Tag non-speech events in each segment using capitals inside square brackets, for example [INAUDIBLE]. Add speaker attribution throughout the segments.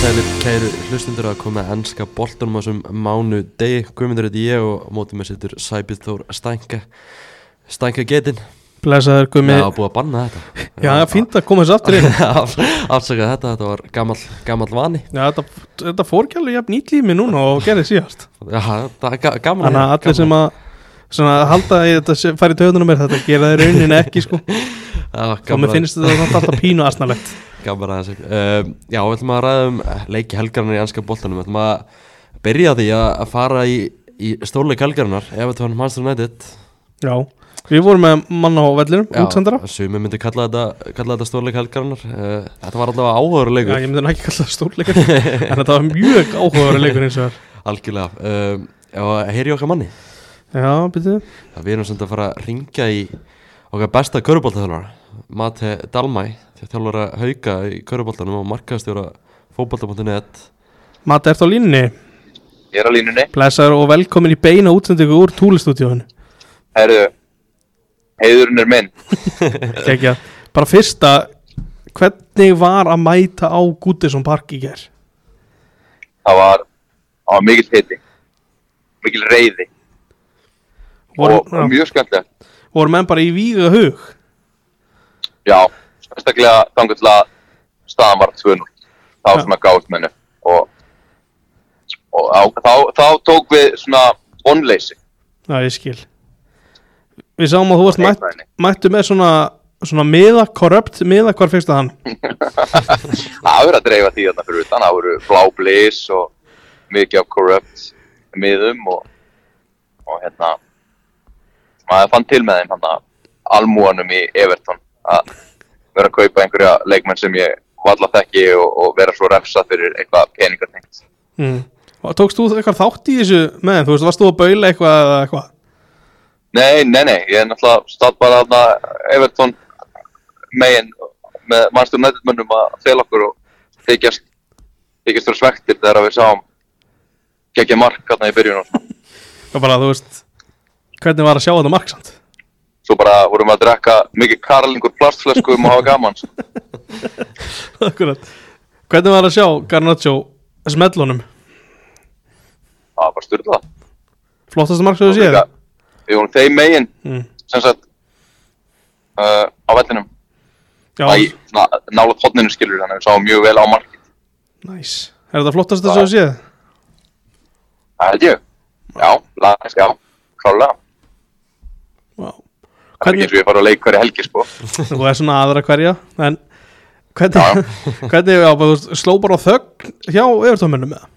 Speaker 1: sælir kæru hlustundur að koma að ennska boltanum á þessum mánu degi Guðmundur heiti ég og á móti með sittur Sæbjörn Þór Stænka Stænka getinn
Speaker 2: Blesaður Gumi
Speaker 1: Já,
Speaker 2: Já,
Speaker 1: búið að banna þetta
Speaker 2: það er
Speaker 1: [LAUGHS]
Speaker 2: fínt að koma þess aftur inn
Speaker 1: Af- Afsakað þetta, þetta var gamall, gamall vani
Speaker 2: Já, þetta, þetta fór ekki alveg jafn nýtt lími núna og gerði síðast
Speaker 1: Já, það er ga- gaman
Speaker 2: Þannig að allir sem að svona, halda að þetta sé- fari í töðunum er þetta gera þeir raunin ekki sko
Speaker 1: að
Speaker 2: Þá mér finnst þetta samt alltaf pínu asnalegt
Speaker 1: Gaman aðeins um, Já, við ætlum að ræða um leiki helgarinnar í ennska boltanum Við ætlum að byrja á því að að fara í, í stórleik helgarinnar Evertón Manchester United
Speaker 2: Já, við vorum með mann á vellinum,
Speaker 1: Já,
Speaker 2: útsendara
Speaker 1: Sumir myndi kalla þetta, kalla þetta stórleik helgarinnar uh, Þetta var allavega áhugaðurleikur
Speaker 2: Já, ég myndi hann ekki kalla það stórleikar En þetta var mjög áhugaður leikur eins og
Speaker 1: Algjörlega um, Já, heyri okkar manni
Speaker 2: þar Já, byrju
Speaker 1: Já, Við erum samt að fara að ringja í okkar besta körubóltaþjálfara Mate Dalmæ, þjálfara hauka í körubóltanum og markaðstjóra fótbolta.net
Speaker 2: Mata, ertu á línni?
Speaker 3: Ég er á línunni.
Speaker 2: Blesaður og velkomin í beina útsendingu úr túlistúdíóinu
Speaker 3: Herðu, heiðurinn er minn.
Speaker 2: Kekja. Bara fyrsta Hvernig var að mæta á Gútisson Park í gerð?
Speaker 3: Það var, það var mikil hiti, mikil reyði
Speaker 2: voru,
Speaker 3: og, og mjög skemmtilegt.
Speaker 2: voru menn bara í víga hug
Speaker 3: Já, staklega þangur til að staðan var 2-0. Það var
Speaker 2: Já.
Speaker 3: svona gátt mennu og, og á, þá, þá tók við svona vonleysi.
Speaker 2: Já, ég skil Við sáum að þú varst mætt,
Speaker 3: Leikmanni.
Speaker 2: mættu með svona, svona miða, korrupt miða, hvar fyrst að hann
Speaker 3: Það voru að dreifa því þarna fyrir utan. Það voru blá blís og mikið af corrupt miðum og, og hérna, maður fann til með þeim hann að almúanum í Everton að vera að kaupa einhverja leikmenn sem ég valla þekki og, og vera svo refsað fyrir eitthvað peningartengt.
Speaker 2: mm. Og Tókst þú eitthvað þátt í þessu með þeim? Þú veist, varst þú að baula eitthvað eða eitthvað?
Speaker 3: Nei, nei, nei, ég er náttúrulega státt bara þarna Everton megin með mannstur nættumönnum að fela okkur og þykjast, þykjast fyrir svektir þegar við sáum geggja mark þarna í byrjun og svona.
Speaker 2: Og bara, þú veist, hvernig var að sjá þetta marksamt?
Speaker 3: Svo bara vorum við að drekka mikið karlingur plastflöskum og hafa gaman. sko.
Speaker 2: [LAUGHS] Akkurat Hvernig var að sjá Garnaccio smellunum?
Speaker 3: Það var bara styrlað.
Speaker 2: Flottasta mark sem þú séð?
Speaker 3: Við vorum þeim megin,
Speaker 2: Mm.
Speaker 3: sem sagt, uh, á vellinum.
Speaker 2: Já,
Speaker 3: Það í
Speaker 2: næs
Speaker 3: nála tóninu skilur þannig að við sáum mjög vel á markið.
Speaker 2: nice. Er þetta flottasta sem þú séð?
Speaker 3: Það held ég. Já, lagast, já, klálega.
Speaker 2: Vá
Speaker 3: Það er ekki eins og ég fara að leika hverja helgi, sko.
Speaker 2: Þú er svona aðra hverja En hvernig, [LAUGHS] hvernig já, bara, þú veist, sló bara á þögn hjá yfirtómmunum með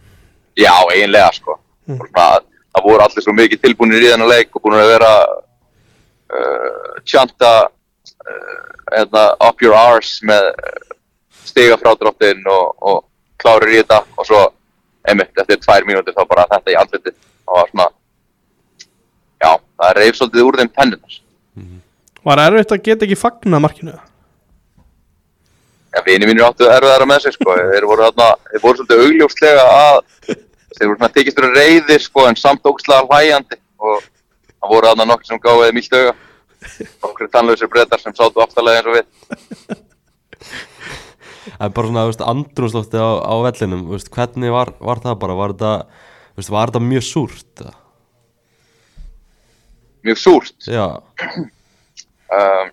Speaker 3: Já, eiginlega sko mm. svona, Það voru allir svo mikið tilbúinir í þennan leik og búin að vera uh, tjanta uh, hérna, up your arse með uh, stiga frádráttin og, og klárir í þetta og svo einmitt eftir tvær mínútur þá bara þetta í andliti og var svona já, það reyf svolítið úr þeim tenninar
Speaker 2: Var erfitt að geta ekki fagnað markinu
Speaker 3: en vini mínir áttu erfiðara með sig sko þeir voru þarna, þeir voru svolítið augljóslega að þeir voru svona tekistur reyðir sko en samt ógslaða hlæjandi og það voru þarna nokkur sem gáði þeim ílt auga okkur tannlausir brettar sem sátu aftalega eins og við
Speaker 1: En bara svona, þú veist, andrúnslótti á, á vellinum, þú veist, hvernig var, var það bara, var þetta, þú veist, var þetta mjög súrt? eða?
Speaker 3: mjög súrt
Speaker 1: Já,
Speaker 3: um,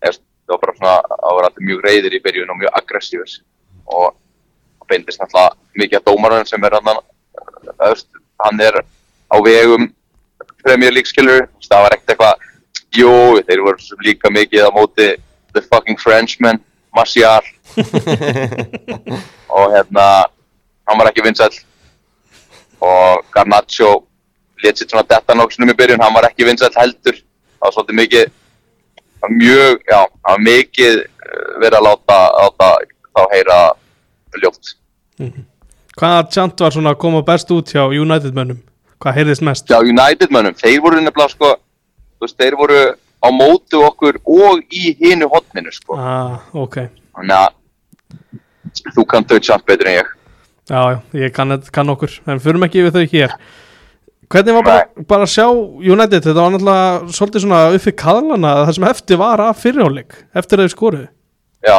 Speaker 3: eða, það var bara svona það voru allir mjög reyðir í byrjun og mjög aggressífis og það beindist náttúrulega mikið að dómarinn sem er hann hann er á vegum Premier League skilur það var ekkert eitthvað jú, þeir voru svo sem líka mikið á móti the fucking Frenchman, Martial og hérna hann var ekki vinsæll og Garnaccio lét sér svona detta nokksinum í byrjun, hann var ekki vinsæll heldur það var svolítið mikið það var mjög, já, það var mikið eh, verið að láta, láta þá heyra ljótt
Speaker 2: Hvaða tjant var svona að koma best út hjá United mönnum? Hvað heyrðist mest?
Speaker 3: Já, United mönnum, þeir voru nefnilega sko, þú veist, þeir voru á mótu okkur og í hinu hotninu sko.
Speaker 2: Ah, ok
Speaker 3: Þannig að þú kann þau tjátt betur en ég.
Speaker 2: Já, já, ég kann, þetta- kann okkur En förum ekki yfir þau hér Hvernig var bara, bara að sjá United? Þetta var náttúrulega svolítið svona uppi kaðlana það sem eftir var af fyrirháleik eftir að þau skoruðu
Speaker 3: Já,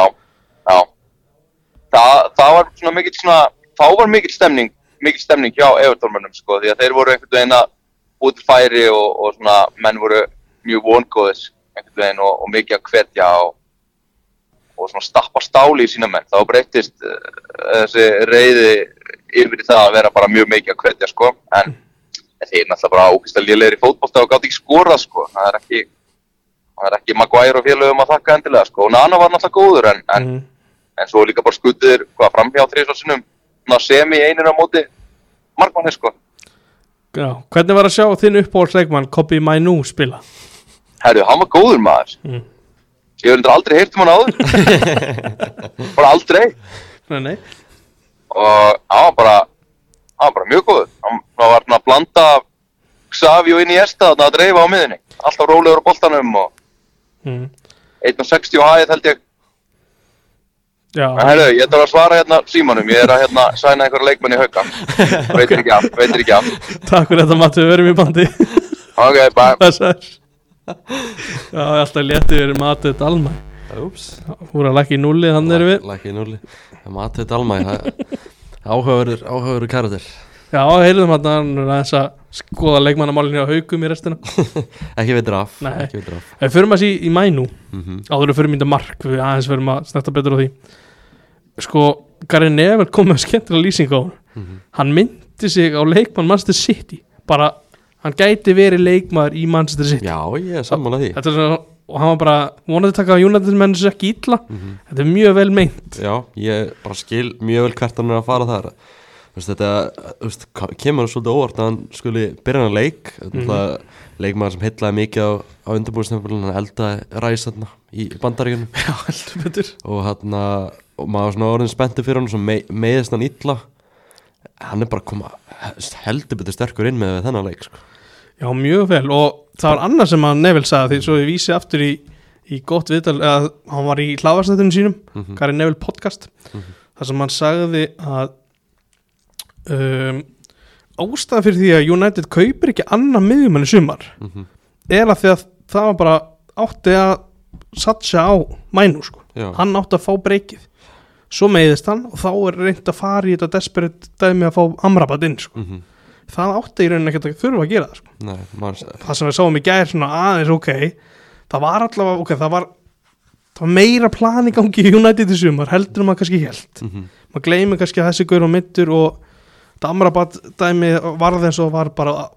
Speaker 3: já. Þa, það var svona mikill svona þá var mikil stemning, mikil stemning hjá Evertónmönnum sko, því að þeir voru einhvern veginn að búið færi og, og svona menn voru mjög vongóðis einhvern veginn og, og mikið að hvetja og, og svona stappa stáli í sína menn, þá breyttist uh, þessi reyði yfir í það að vera bara mjög mikið að hvetja sko, en þeir náttúrulega bara ókvist að lélegir í fótbolta og gátt ekki skorað sko, það er ekki það er ekki Maguire og félögum að þakka endilega sko, og Nana var náttúrulega góður en, en
Speaker 2: Mhm.
Speaker 3: en svo líka bara skuttir hvað framhjá þrísvarsinum sem í eininu á móti markmanni sko
Speaker 2: Já, hvernig var að sjá þinn uppáhaldsleikmann Kobi Mainu spila?
Speaker 3: herru, hann var góður maður
Speaker 2: Mm.
Speaker 3: ég hef reyndar aldrei heyrt um hann áður bara aldrei
Speaker 2: Nei, nei,
Speaker 3: og hann var bara hann var bara mjög góður hann hann var svona að blanda Xavi og inn í Esta þarna að dreifa á miðinni alltaf rólegur á boltanum og
Speaker 2: mm.
Speaker 3: 1.60 og hæðið held ég
Speaker 2: já,
Speaker 3: en herru, ég þarf að svara hérna símanum ég er að hérna sæna einhverja leikmenn í hauka veitir ekki af, veitir ekki af
Speaker 2: takk fyrir þetta Matti, við verum í bandi [LAUGHS]
Speaker 3: ok, bye
Speaker 2: Þessar Já, alltaf léttu við Matti Dalma
Speaker 1: Úps
Speaker 2: Húra lakki í núli, hann erum við
Speaker 1: Lækki í núli Mati Dalmæ Áhauður, áhauður karatir
Speaker 2: Já, heyrðum hann hann er aðeins að skoða leikmannamálinu á haukum í restina
Speaker 1: [LAUGHS] Ekki við draf
Speaker 2: Nei.
Speaker 1: Ekki við draf
Speaker 2: Við förum að sí í mænu
Speaker 1: mm
Speaker 2: áður að förum í þetta mark við aðeins förum að snetta betur á því Sko, Gary Neville kom með skemmtilega lýsing á hann Hann myndi sig á leikmann Manchester City bara, hann gæti verið leikmaður í Manchester City
Speaker 1: Já, ég er sammála því
Speaker 2: Þetta er svona, og hann var bara vonaði að taka að United menn sér ekki illa Þetta er mjög vel meint
Speaker 1: Já, ég bara skil mjög vel hvert hann er að fara þar Þú veist, Þetta þú veist, ka- kemur hann svolítið óvart að hann skuli byrja hann að leik
Speaker 2: Mhm.
Speaker 1: mm. leikmaður sem heitlaði mikið á, á undirbúinstempulun hann eldaði ræs þarna í bandaríkunum
Speaker 2: Já, heldur betur
Speaker 1: og, þarna, og maður var svona orðin spennti fyrir hann og svo mei, meiðist hann illa hann er bara að koma he- heldur betur sterkur inn með þennan leik sko.
Speaker 2: Já, mjög vel og það var annað sem að Neville sagði því svo ég vísi aftur í, í gott viðtal að hann var í hláfastættunum sínum mm
Speaker 1: Mhm.
Speaker 2: Gary Neville podcast þar sem hann sagði að um, ástæða fyrir því að United kaupir ekki annan miðjumenn í sumar
Speaker 1: Mhm.
Speaker 2: er að því að það var bara átti að satsa á mænu sko
Speaker 1: Já,
Speaker 2: hann átti að fá breykið svo meiðist hann og þá er reynd að fara í þetta desperate dæmi að fá amrabat inn sko.
Speaker 1: Mhm.
Speaker 2: það átti í rauninni ekkert að þurfa að gera það sko.
Speaker 1: nei, maður,
Speaker 2: það sem við sáum í gær svona aðeins ok það var allavega ok það var, það var meira plan í gangi í United í sumar heldur en maður kannski held
Speaker 1: mm -hmm,
Speaker 2: maður gleymir kannski að þessi gaur og mittur og þetta amrabat dæmi varð eins og var bara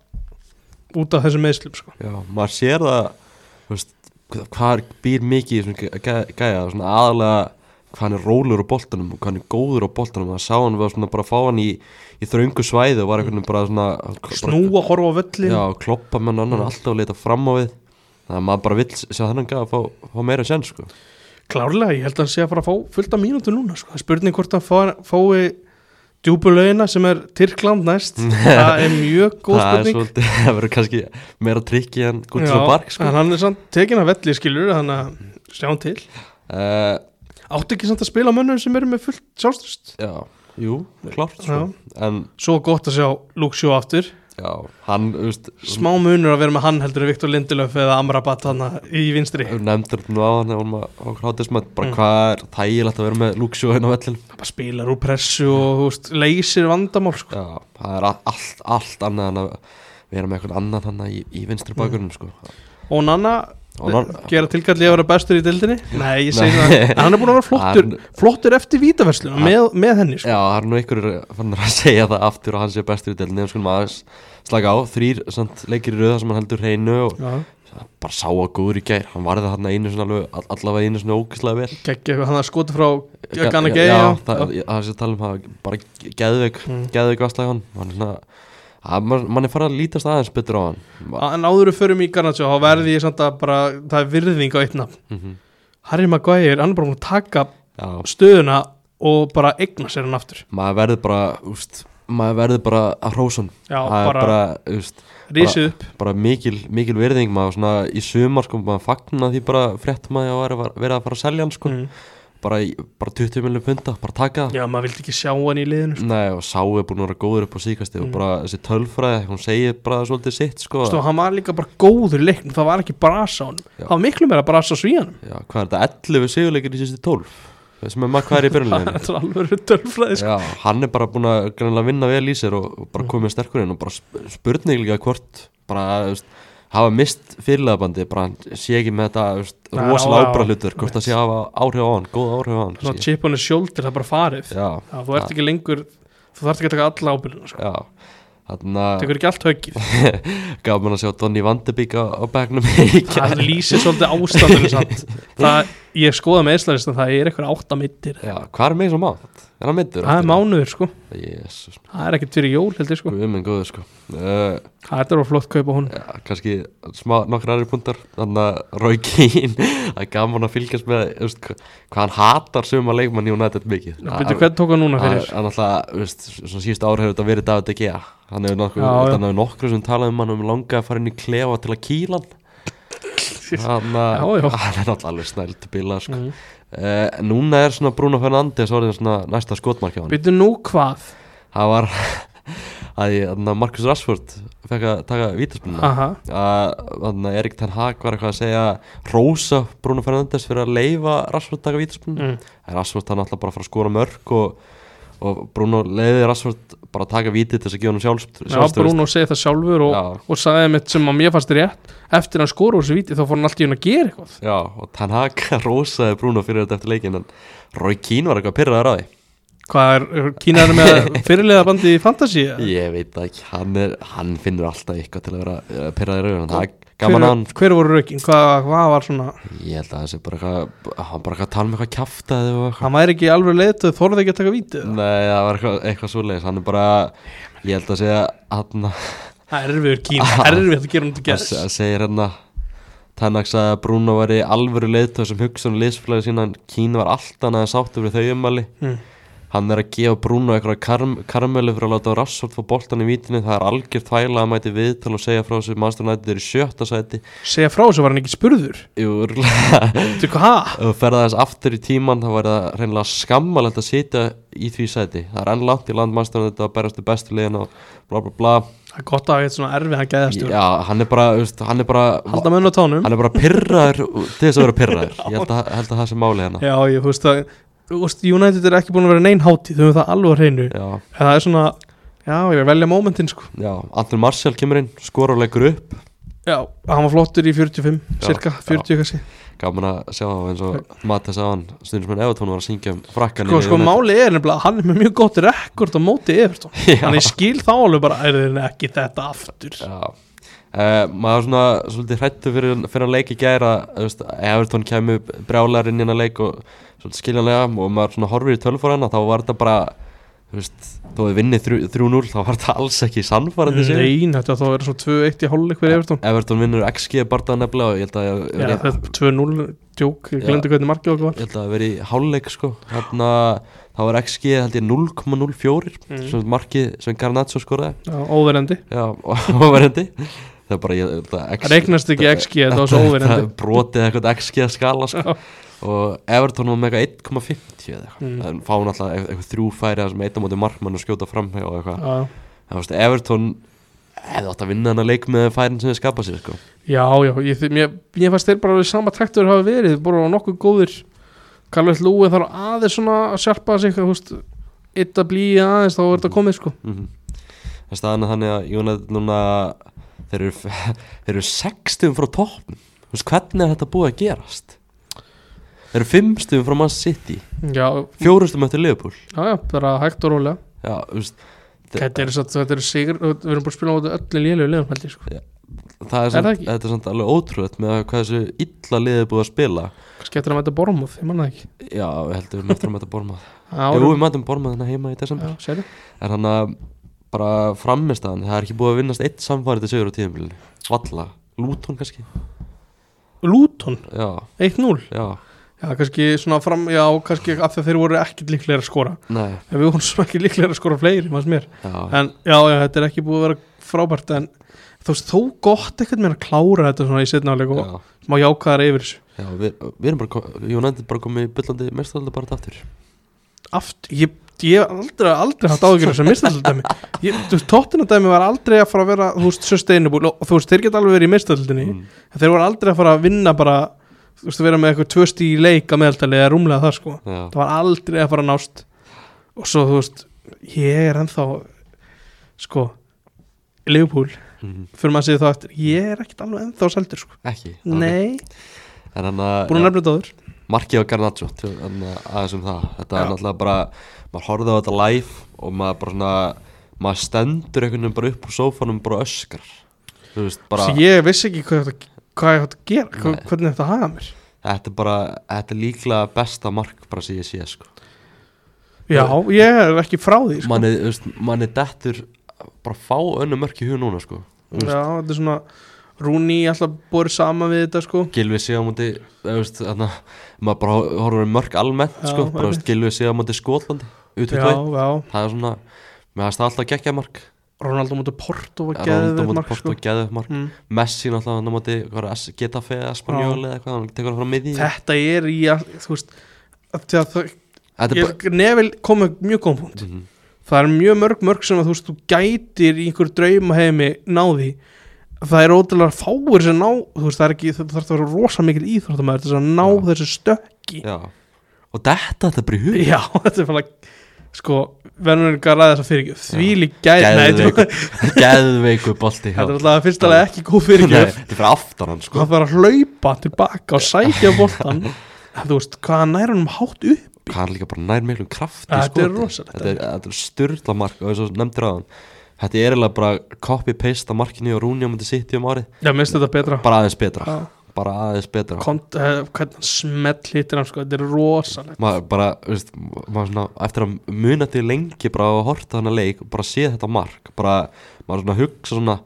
Speaker 2: út af þessum meðslum sko.
Speaker 1: já, maður sér það þú veist, hvað- hvað er- býr mikið í svona gæ- gæ- gæja, svona aðalega hvað hann er rólur á boltanum og hvað hann er góður á boltanum maður sá hann var svona bara að fá hann í, í þröngu svæði og var einhvern veginn bara svona
Speaker 2: snúa, horfa á völlin
Speaker 1: Já, kloppa menn
Speaker 2: Mm.
Speaker 1: annan alltaf að leita fram á við Þannig að maður bara vill sjá þennan gæða að fá, fá meira sén sko.
Speaker 2: Klárlega, ég held að hann sé að fara að fá fullt af mínútu núna sko. Það er spurning hvort hann fá, fái djúbulauðina sem er
Speaker 1: [LAUGHS]
Speaker 2: Tyrkland næst Það er mjög góð
Speaker 1: Það er
Speaker 2: spurning
Speaker 1: svolítið, [LAUGHS] það verður kannski meira trikki en gútið á
Speaker 2: Já,
Speaker 1: bark sko.
Speaker 2: En hann er samt tekin að velli skilur Þannig að sjáum til
Speaker 1: uh,
Speaker 2: Átti ekki samt að spila á mönnum sem eru með fullt sjálfstrust
Speaker 1: Já, jú, klárt sko. En
Speaker 2: Svo gott að sjá Luke Shaw aftur
Speaker 1: já, hann, þú veist
Speaker 2: Smá munur að vera með hann heldur en Viktor Lindelöf eða Amrabat hana í vinstri
Speaker 1: nefndur nú á hann og hann hrátis með bara
Speaker 2: Mm.
Speaker 1: hvað er þægilegt að vera með lúksjóðin á vellin
Speaker 2: Bara spilar úr pressu og þú veist, leysir vandamál sko.
Speaker 1: Já, það er a- allt, allt annað en að vera með eitthvað annað þannig í, í
Speaker 2: Mm.
Speaker 1: vinstri bakgrunum sko.
Speaker 2: Og Nanna
Speaker 1: Og Nanna-
Speaker 2: gera tilkalli að vera bestur í dildinni
Speaker 1: [LAUGHS]
Speaker 2: Nei, ég segi
Speaker 1: Nei.
Speaker 2: það En hann er búin að vera flottur,
Speaker 1: Hann-
Speaker 2: flottur eftir vítaverslun með, með henni sko.
Speaker 1: Já, það er nú einhverjur fannur að [LAUGHS] segja það aftur að hann sé bestur í delni en skulum aðeins slaka á, þrýr samt leikir í röða sem hann heldur hreinu og
Speaker 2: Já,
Speaker 1: bara sá að góður í gær, hann varði þarna einu svona alveg, all- allavega einu svona ógislega vel
Speaker 2: geggja eitthvað, hann er skotið frá Ganna
Speaker 1: Já,
Speaker 2: Gay já, Mm.
Speaker 1: það, ég- það er sér að tala um það, bara geðveik, geðveik vastlega hann, hann er svona, að, man, mann er farið að lítast aðeins betur á hann
Speaker 2: já. En áður við förum í Garnatsjó þá verði ég samt að bara, það er virðing á eitt nafn
Speaker 1: Mhm.
Speaker 2: Harry Maguire, hann er bara búin að taka
Speaker 1: Já,
Speaker 2: stöðuna og bara eigna sér hann aftur
Speaker 1: maður verður bara, úst, maður verður bara að hrósa hann
Speaker 2: Já,
Speaker 1: Það er
Speaker 2: bara-
Speaker 1: bara, úst,
Speaker 2: Rísið upp
Speaker 1: bara mikil, mikil virðing maður svona í sumar sko maður fagna því bara fréttum að ég var að vera að fara að selja hann sko [LAUGHS]
Speaker 2: Mm.
Speaker 1: bara, í- bara 20 miljonum punta, bara taka það
Speaker 2: Já, maður vildi ekki sjá hann í liðinu sko. Mm.
Speaker 1: Nei og sá er búin að vera góður upp á síkasti og bara þessi tölfræði, hún segir bara svolítið sitt sko
Speaker 2: Stó, Hann var líka bara góður í leiknum, það var ekki brasa á hann
Speaker 1: Já.
Speaker 2: Það var miklu meira brasa á svíjanum
Speaker 1: Já, hvað er þetta, 11 sigurleikir í síðustu 12 sem er makkværi í
Speaker 2: [LAUGHS] það
Speaker 1: byrjunleginu
Speaker 2: er alveg tölfræði sko.
Speaker 1: Já, hann er bara búin að greinilega vinna vel í sér og og bara komið sterkur inn og bara sp- spurning líka hvort bara, þú veist, hafa mist fyrirlegabandi bara hann sé ekki með þetta þú veist,
Speaker 2: Nei,
Speaker 1: rosalega
Speaker 2: já, já.
Speaker 1: ábra hlutur, hvort það sé að hafa áhrif á hann góð áhrif á hann
Speaker 2: svona
Speaker 1: kannski.
Speaker 2: chip on his shoulder, það er bara farið
Speaker 1: Já,
Speaker 2: Já, þú ert ekki lengur, þú þarft ekki að taka alla ábyrðina sko.
Speaker 1: já Þannig að
Speaker 2: tekur ekki allt höggið,
Speaker 1: [LAUGHS] gaf mér að sjá Donny Vandebík á, á begnum í
Speaker 2: það
Speaker 1: gær.
Speaker 2: lýsir svolítið ástandinu
Speaker 1: [LAUGHS]
Speaker 2: samt það, ég skoða með Íslandist að það er eitthvað átta mittir
Speaker 1: Já, hvað er með svo mátt? Er hann myndur?
Speaker 2: það er mánuður sko,
Speaker 1: Jésus,
Speaker 2: það er ekkert fyrir jól heldur sko,
Speaker 1: við minn góður sko uh,
Speaker 2: það er þetta flott kaupa hún
Speaker 1: Já, kannski smá nokkra aðri pundar þannig að Roy Keane það er gaman að fylgjast með þú veist, hva- hvað hann hatar suma leikmann í United mikið
Speaker 2: Býtu, hvern tók hann núna fyrir?
Speaker 1: Hann alltaf, þú veist, svona síðust ára hefur þetta verið David De Gea Hann hefur nokkur,
Speaker 2: Já, já.
Speaker 1: hann hefur nokkur sem talað um hann um langa að fara inn í klefa til að kýla hann Þannig
Speaker 2: Já, já.
Speaker 1: að [LAUGHS] hann er náttúrulega alveg snælt bila sko. mm. Núna er svona Bruno Fernandes orðin svona næsta skotmark hjá hann
Speaker 2: Býtu nú hvað?
Speaker 1: Það var [LAUGHS] að ég, þannig að Marcus Rashford fekk að taka vítaspunna
Speaker 2: Aha,
Speaker 1: að þannig að Erik Ten Hag var eitthvað að segja Rósa Bruno Fernandes fyrir að leifa Rashford taka vítaspunni
Speaker 2: Mm.
Speaker 1: en Rashford hann alltaf bara að fara að skora mörg og, og Bruno leiði Rashford bara að taka víti til þess að gefa hann sjálfst
Speaker 2: já, Bruno segi það sjálfur og,
Speaker 1: Já.
Speaker 2: og sagði mitt sem að mér fannst rétt eftir að hann skora úr þessu víti þá fór hann alltaf í hún að gera eitthvað
Speaker 1: já, og Ten Hag [LAUGHS] rósaði Bruno fyrir þetta eftir leikin en Roy Keane var eitthvað pyrraður á því
Speaker 2: Hvað er, er
Speaker 1: [LAUGHS]
Speaker 2: kínaður með fyrirlega bandi í fantasy? eða?
Speaker 1: ég veit það ekki, hann, er, hann finnur alltaf eitthvað til að vera uh, pyrraður í rauðan það er
Speaker 2: hver,
Speaker 1: gaman að hann
Speaker 2: hver voru rökin? Hvað, hvað var svona?
Speaker 1: ég held að það sé bara eitthvað hann bara eitthvað að tala með eitthvað kjaftaði og eitthvað
Speaker 2: Hann væri ekki alveg leitt og þorði ekki að taka víti eða?
Speaker 1: Nei, það var eitthvað, eitthvað svoleiðis Hann er bara, ég held að segja hann,
Speaker 2: Það er erfiður
Speaker 1: [LAUGHS]
Speaker 2: kín, erfiður að gera hún til
Speaker 1: hann
Speaker 2: gæðs
Speaker 1: se- segir hérna Tannaks að Bruno var í alvöru leiðtöð sem hugsa um liðsfélagi sína en Kín var allt annað en sáttu fyrir þau umali
Speaker 2: Mm.
Speaker 1: Hann er að gefa Bruno eitthvað karm, karmelu fyrir að láta Rassort fá boltan í vítinni það er algjör þvæla að mæti viðtal og segja frá þessu mannstofnættið er í sjötta sæti
Speaker 2: Segja frá þessu var hann ekki spurður
Speaker 1: Jú, örugglega. [LAUGHS]
Speaker 2: Þú veitir hvað?
Speaker 1: Ef þú ferða þess aftur í tíman þá væri það reynilega skammalegt að sitja í því sæti það er enn langt í landmannstofnum þetta að berjast í bestu liðin og bla bla bla
Speaker 2: Það er gott að hafa eitthvað svona erfið að gæðast
Speaker 1: Já, hann er bara, veist, hann er bara
Speaker 2: Halda mönnum á tánum
Speaker 1: hann er bara pyrraður til þess að vera
Speaker 2: [LAUGHS]
Speaker 1: pyrraður ég held að, held að það sé máli hérna
Speaker 2: Já, ég þú veist að þú veist, United er ekki búin að vera neinn hátíð þau hefur það alveg á hreinu
Speaker 1: Já,
Speaker 2: það er svona, já, ég er að velja momentin sko.
Speaker 1: já, Anthony Martial kemur inn skora og leggur upp,
Speaker 2: já, hann var flottur í 45
Speaker 1: Já,
Speaker 2: cirka, 40 kannski
Speaker 1: gaman að sjá það eins og Matti sá hann, stundismenn Evertón var að syngja um frakkan
Speaker 2: sko, sko
Speaker 1: [LAUGHS]
Speaker 2: máli er nefnilega, að hann er með mjög gott rekord á móti Everton, þannig ég skil þá alveg bara, er þeir ekki þetta aftur já,
Speaker 1: Já Uh, maður var svona svolítið hrættu fyrir, fyrir að leik í gæra Evertón kemur brjálar inn í hennar leik og svolítið skiljanlega og maður svona horfir í tölfóran þá var þetta bara þú veist, þó við vinnið 3-0 þá var þetta alls ekki sannfærandi sigur.
Speaker 2: nein, þetta þá er svona 2-1 í hálfleik fyrir Everton
Speaker 1: Evertón vinnur XG barndaða nefnilega og ég held að ég,
Speaker 2: já,
Speaker 1: ég,
Speaker 2: þetta er 2-0, djók, ég
Speaker 1: Já.
Speaker 2: glemdi hvernig markið okkur var
Speaker 1: ég held að veri í háluleik sko þarna þá var XG held ég 0,04
Speaker 2: Mm.
Speaker 1: sem markið sem Garnaccio skoraði
Speaker 2: Já, óverandi,
Speaker 1: já, [LAUGHS] óverendi það er bara ég, held að
Speaker 2: það regnast ekki XG þetta var svo óverandi
Speaker 1: Þetta brotið eitthvað XG skala sko.
Speaker 2: Já.
Speaker 1: og Everton var með eitthvað 1,50 eða eitthvað,
Speaker 2: Mm.
Speaker 1: mm. fá náttúrulega eitthvað, eitthvað þrjú færi sem eitt á móti markmann og skjóta fram og eitthvað,
Speaker 2: Já.
Speaker 1: en þú veist, Everton hefði átt að vinna hann að leik með færin sem þið skapa sér sko.
Speaker 2: Já, já, ég, þi- mér, mér fannst þeir bara alveg sama traktur hafa verið, bara nokkuð góðir Karlveit Lúi þarf aðeins svona að sjarpa sig, þú veist eitt að blíja aðeins, þá er þetta komið sko
Speaker 1: mm -hmm. en staðan er þannig að United núna þeir eru, [LAUGHS] þeir eru 60 frá toppn, þú veist, hvernig er þetta búið að gerast þeir eru 5 stugum frá Man City,
Speaker 2: Já,
Speaker 1: 4 stugum eftir Liverpool
Speaker 2: já, já, bara hægt og rólega
Speaker 1: já, þú veist Þe-
Speaker 2: Þetta eru satt, þetta eru sigur, við erum bara að spila á þetta öllu lélu liðum held ég sko
Speaker 1: það er,
Speaker 2: það
Speaker 1: samt,
Speaker 2: ekki?
Speaker 1: þetta er samt alveg ótrúlegt með að hvað þessu illa liðið er búið að spila
Speaker 2: Kannski eftir að mæta Bormóð, ég manna það ekki
Speaker 1: já, við heldum við mættum að mæta Bormað
Speaker 2: Já,
Speaker 1: jú,
Speaker 2: árum-
Speaker 1: við mættum Bormað hérna heima í desember
Speaker 2: já, sérðu
Speaker 1: en hann að bara framistæðan það er ekki búið að vinnast eitt samfærið til sigur á tíðumbilinu valla, Luton kannski
Speaker 2: Luton,
Speaker 1: já,
Speaker 2: 1-0
Speaker 1: já,
Speaker 2: Já, kannski svona fram, já, kannski af því að þeir voru ekkit líklegir að skora
Speaker 1: nei
Speaker 2: En við vorum [LAUGHS] svona ekki líklegir að skora fleiri, maður mér
Speaker 1: já,
Speaker 2: en já, já, þetta er ekki búið að vera frábært en þú veist, þó gott eitthvað með að klára þetta svona í setnáleik og
Speaker 1: já,
Speaker 2: smá jákaðar yfir þessu
Speaker 1: já við, við erum bara kom- United bara komið í byllandi mestaralda bara aftur
Speaker 2: aftur, ég, ég hef aldrei, aldrei hatt ágjörð sem mistaldæmi þú veist, tóttinadæmi var aldrei að fara að vera þú veist, sustainable og, og þú veist, þeir geta alveg verið í mistaldinni
Speaker 1: Mm.
Speaker 2: en þeir voru aldrei að fara að vinna bara þú veist að vera með eitthvað tvösti í leik að meðaldali eða rúmlega það sko
Speaker 1: Já.
Speaker 2: það var aldrei að fara að nást og svo þú veist, ég er ennþá sko Leopold,
Speaker 1: Mhm.
Speaker 2: fyrir maður að segja það eftir ég er ekkert alveg ennþá seldur sko
Speaker 1: Ekki
Speaker 2: Nei,
Speaker 1: En hann að
Speaker 2: búin að
Speaker 1: ja,
Speaker 2: nefna þetta áður
Speaker 1: Markið á Garnaccio til- en, uh, Aðeins um það Þetta
Speaker 2: Já.
Speaker 1: er náttúrulega bara Maður horfði á þetta live Og maður bara svona Maður stendur einhvern veginn bara upp úr sófanum Bara og öskar Þú veist bara
Speaker 2: Svo ég vissi ekki hvað ég átt að, hvað ég átt að gera hvað,
Speaker 1: Nei.
Speaker 2: hvernig þetta haga mér
Speaker 1: Þetta er bara Þetta er líklega besta mark Bara sem ég sé sko
Speaker 2: Já, ég er ekki frá því sko.
Speaker 1: Manni, þú veist Manni dettur Bara fá önnu mörk í hug núna sko Þú veist,
Speaker 2: Já, þetta er svona Rúni alltaf borið sama við þetta sko
Speaker 1: Gilvi Sigamóti Þannig að maður bara horfður á mörk almennt
Speaker 2: Já,
Speaker 1: sko, bara, þú
Speaker 2: einmitt.
Speaker 1: veist, Gilvi Sigamóti Skotlandi út
Speaker 2: Já, já,
Speaker 1: það er svona mér hafði það alltaf geggja mark
Speaker 2: Ronaldo mútu Porto var
Speaker 1: Ronaldo
Speaker 2: geðið
Speaker 1: móti
Speaker 2: mark
Speaker 1: Porto
Speaker 2: sko
Speaker 1: geðið mark
Speaker 2: mm.
Speaker 1: Messi náttúrulega hann á móti hvað er, S- Getafe eða Spanjóli eða hvað hann tekur hann frá miði
Speaker 2: Þetta er í að, þú veist að því að það,
Speaker 1: þetta er bara
Speaker 2: ég, Neville kom með mjög góðan punkt
Speaker 1: Mhm.
Speaker 2: Það er mjög mörg mörg sem að þú veist þú gætir í einhver draumaheimi náði Það er ótrúlega fáir sem ná þú veist það er ekki, það þarf að vera rosa mikil íþróttamæður þess að ná
Speaker 1: Já.
Speaker 2: þessu stökki
Speaker 1: já og þetta þetta er bara í hug
Speaker 2: [LAUGHS] Já, þetta er bara sko, verður ekki að ræða þess að fyrirgjöf því lík gæð, nei, þetta
Speaker 1: Geðveikur- geðveiku bolti
Speaker 2: þetta er
Speaker 1: já.
Speaker 2: alltaf fyrst alveg ekki góð
Speaker 1: Nei,
Speaker 2: fyrirgjöf
Speaker 1: þetta er fyrir aftan hann sko
Speaker 2: hann þarf að hlaupa tilbaka og sækja boltan
Speaker 1: [LAUGHS]
Speaker 2: En þú veist, hvað hann nær honum hátt upp
Speaker 1: hann er líka bara nær miklum krafti
Speaker 2: Þetta
Speaker 1: sko,
Speaker 2: er rosalegt.
Speaker 1: þetta er, þetta er styrla mark og eins og nefndir á hann þetta er eiginlega bara copy-paste að markinu og Rúni á myndi sitt í um árið
Speaker 2: Já, minnst þetta betra
Speaker 1: bara aðeins betra
Speaker 2: Já.
Speaker 1: bara aðeins betra
Speaker 2: Kont, uh, hvernig hann smelt hittir hann sko, þetta er rosalegt
Speaker 1: maður bara, veist, maður svona eftir að muna til lengi bara að horta þannig leik og bara sé þetta mark bara, maður svona hugsa svona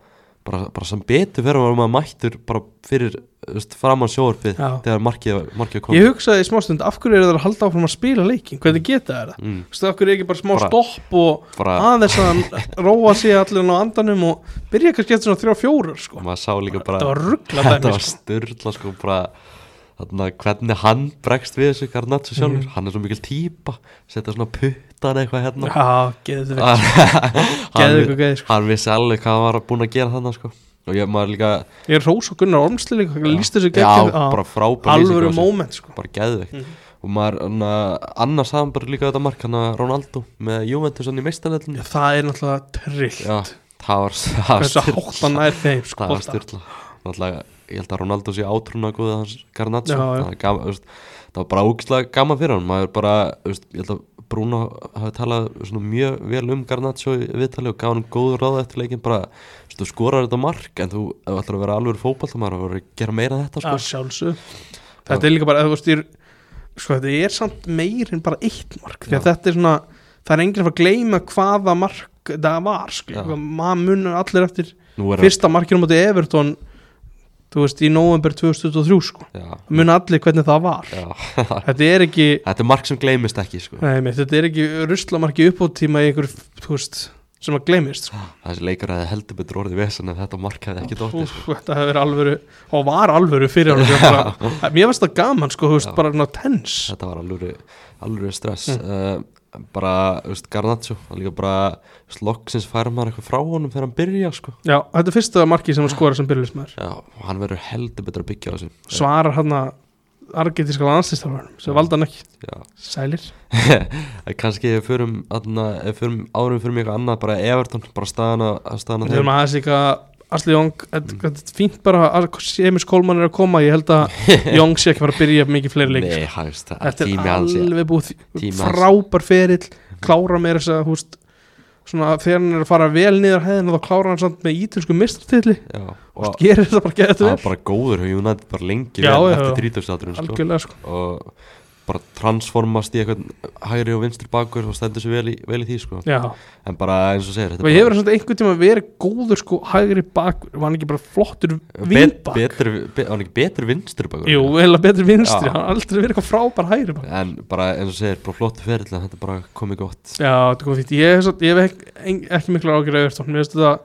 Speaker 1: bara, bara sem betur fyrir að maður mættur bara fyrir, veist, framann sjóarfið
Speaker 2: Já.
Speaker 1: þegar markið, markið kom
Speaker 2: Ég hugsaði í smástund, af hverju eru það að halda áfram að spila leikin hvernig geta þeir það?
Speaker 1: mm,
Speaker 2: Þú veist, af hverju er ekki bara smá
Speaker 1: Bara-
Speaker 2: stopp og
Speaker 1: bara,
Speaker 2: aðeins að hann róa sig allir á andanum og byrja kannski eftir svona þrjá fjórar sko.
Speaker 1: maður sá líka bara
Speaker 2: Þetta var
Speaker 1: [LAUGHS]
Speaker 2: ruggla
Speaker 1: þetta
Speaker 2: dæmi
Speaker 1: var
Speaker 2: sko.
Speaker 1: styrla sko bara þarna, hvernig hann bregst við þessu Garnaccio sjálfur,
Speaker 2: Mhm.
Speaker 1: hann er svo mikil típa setja svona puttan eitthvað hérna
Speaker 2: Já,
Speaker 1: [LAUGHS]
Speaker 2: geðu þetta Geðveikur
Speaker 1: hann,
Speaker 2: gæði, sko.
Speaker 1: hann vissi alveg hvað hann var búin að gera þannig sko. og ég maður líka
Speaker 2: Ég er hrós og Gunnar Ormsli líka, hann líst þessu
Speaker 1: já,
Speaker 2: geggjum
Speaker 1: bara frábær lýsing á
Speaker 2: Alvöru
Speaker 1: þessu.
Speaker 2: moment sko.
Speaker 1: bara geðveikt og maður, hana, annars hafði hann bara líka þetta mark hann að Ronaldo með Juventus hann í meistarleilinu
Speaker 2: Já, Það er náttúrulega trillt
Speaker 1: já, það var það var
Speaker 2: hversu
Speaker 1: styrla.
Speaker 2: hátt hann nær þeim sko,
Speaker 1: það var
Speaker 2: bolta.
Speaker 1: styrla náttúrulega, ég held að Ronaldo sé átrúna góðið hans Garnaccio
Speaker 2: Já, já.
Speaker 1: það, er gaman, þú veist, það var bara ógislega gaman fyrir hann maður bara, þú veist, ég held að Bruno hafi talað svona mjög vel um Garnaccio í viðtali og gaf hann góður ráð eftir leikin bara, þú veist, þú skorar þetta mark en þú, ef þú ætlar að vera alveg fótballtamaður þú verður að gera meira en þetta sko.
Speaker 2: að sjálfsög þetta er líka bara, þú veist, ég, er- sko þetta er samt meir en bara eitt mark því að
Speaker 1: Já.
Speaker 2: þetta er svona, það er enginn að fara að gleyma hvaða mark það var
Speaker 1: Já.
Speaker 2: sko, maður munur allir eftir
Speaker 1: nú er
Speaker 2: fyrsta markinu mútið Everton þú veist, í november 2023 sko
Speaker 1: já,
Speaker 2: mun allir hvernig það var
Speaker 1: já, [LAUGHS]
Speaker 2: þetta er ekki,
Speaker 1: Þetta er mark sem gleymist ekki sko.
Speaker 2: nei, meitt, þetta er ekki ruslamarki uppóttíma í einhver, þú veist sem að gleymist sko.
Speaker 1: Þessi leikur hefði heldur betur orðið vesen en þetta mark hefði ekki dóttið
Speaker 2: Úf,
Speaker 1: sko.
Speaker 2: þetta hefur verið alvöru og var alvöru fyrir alvöru ég bara- mér finnst það gaman sko, þú veist,
Speaker 1: Já.
Speaker 2: bara ná, tens
Speaker 1: Þetta var alveg, alveg stress
Speaker 2: Mm.
Speaker 1: uh, bara, þú veist, Garnaccio hann líka bara, þú veist, loksins færa maður eitthvað frá honum þegar hann byrja sko.
Speaker 2: Já, þetta er fyrsta marki sem hann
Speaker 1: Ah.
Speaker 2: skora sem byrjulismæður
Speaker 1: Já, og hann verður heldur betur að byggja á þessu
Speaker 2: Svarar hann að argetíska landslistaflunum sem valda hann ekki
Speaker 1: Já. [LAUGHS]
Speaker 2: Sælir
Speaker 1: En kannski ef við förum, aðna, ef við förum árum fyrir mig eitthvað annað, bara Everton bara staðan að, að staðan að
Speaker 2: Við erum aðeins líka Asli Jónk,
Speaker 1: Mm.
Speaker 2: þetta þetta er fínt bara að Semis Kolman er að koma Ég held
Speaker 1: [LAUGHS]
Speaker 2: að Jónk sé ekki fara að byrja mikið fleiri leik
Speaker 1: Nei, hann veist, það er
Speaker 2: sko. Þetta
Speaker 1: tími
Speaker 2: er
Speaker 1: hans í-
Speaker 2: alveg búið
Speaker 1: Tími hans.
Speaker 2: frábær ferill Klára meira þess að húst Svona þegar hann er að fara vel niður hæðina þá klára hann samt með ítilsku mistartilli
Speaker 1: Já, og
Speaker 2: Gerir þetta bara gæða
Speaker 1: það
Speaker 2: þetta
Speaker 1: er
Speaker 2: vel
Speaker 1: bara góður hjá United bara lengi vel
Speaker 2: Já, já, já.
Speaker 1: eftir 30 áturum sko.
Speaker 2: Algjörlega sko
Speaker 1: og bara transformast í eitthvað hægri og vinstri bakur og stendur sér vel í, vel í því sko.
Speaker 2: Já
Speaker 1: en bara eins og segir þetta
Speaker 2: Og
Speaker 1: er
Speaker 2: hefur hann einhvern tíma verið góður sko hægri bak, var hann ekki bara flottur
Speaker 1: bet,
Speaker 2: vinnbak?
Speaker 1: betur, be, hann er ekki betur vinstri bakur
Speaker 2: Jú, heila betri vinstri,
Speaker 1: Já.
Speaker 2: hann er aldrei verið eitthvað frábær hægri bak.
Speaker 1: en bara eins og segir, bara flott ferill en þetta er bara komið gott
Speaker 2: Já, þetta kom fínt, ég hef, svo- ég hef ekki, en- ekki mikla ágjur að Evertón, mér finnst þetta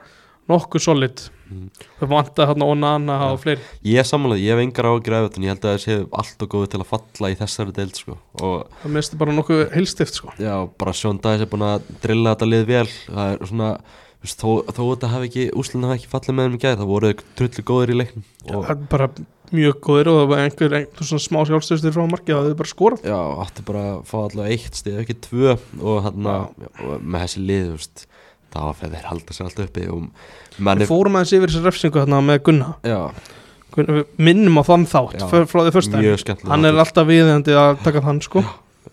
Speaker 2: nokkuð solid,
Speaker 1: Mhm.
Speaker 2: það vantaði hann Onana
Speaker 1: Já.
Speaker 2: og fleiri,
Speaker 1: ég er samanlega, ég hef engar ágjur af þetta en ég held að það séu allt og góði til að falla í þessari deild sko. og
Speaker 2: það mér finnst þetta bara nokkuð heilstift sko.
Speaker 1: já, bara Sjón Dæs er búin að drilla þetta lið vel það er svona þú veist, þó, þó þetta hafi ekki, úslunna hafi ekki fallið með þeim í gæð það voru trullu góðir í leiknum og
Speaker 2: Það er bara mjög góðir og það var einhver, einhver svona smá sjálfstöðstir frá markið að þau bara skorað
Speaker 1: Já, átti bara að fá allavega eitt stig ekki tvö og hann að og með þessi lið, þú veist það var fyrir að halda sér alltaf uppi og
Speaker 2: Við
Speaker 1: manni,
Speaker 2: fórum aðeins yfir þessi refsingu þarna með Gunna
Speaker 1: já,
Speaker 2: Gunna- við Minnum á þann þátt
Speaker 1: Já.
Speaker 2: frá frá því fyrst
Speaker 1: mjög skemmtilega
Speaker 2: Hann er alltaf viðeigandi að taka þann sko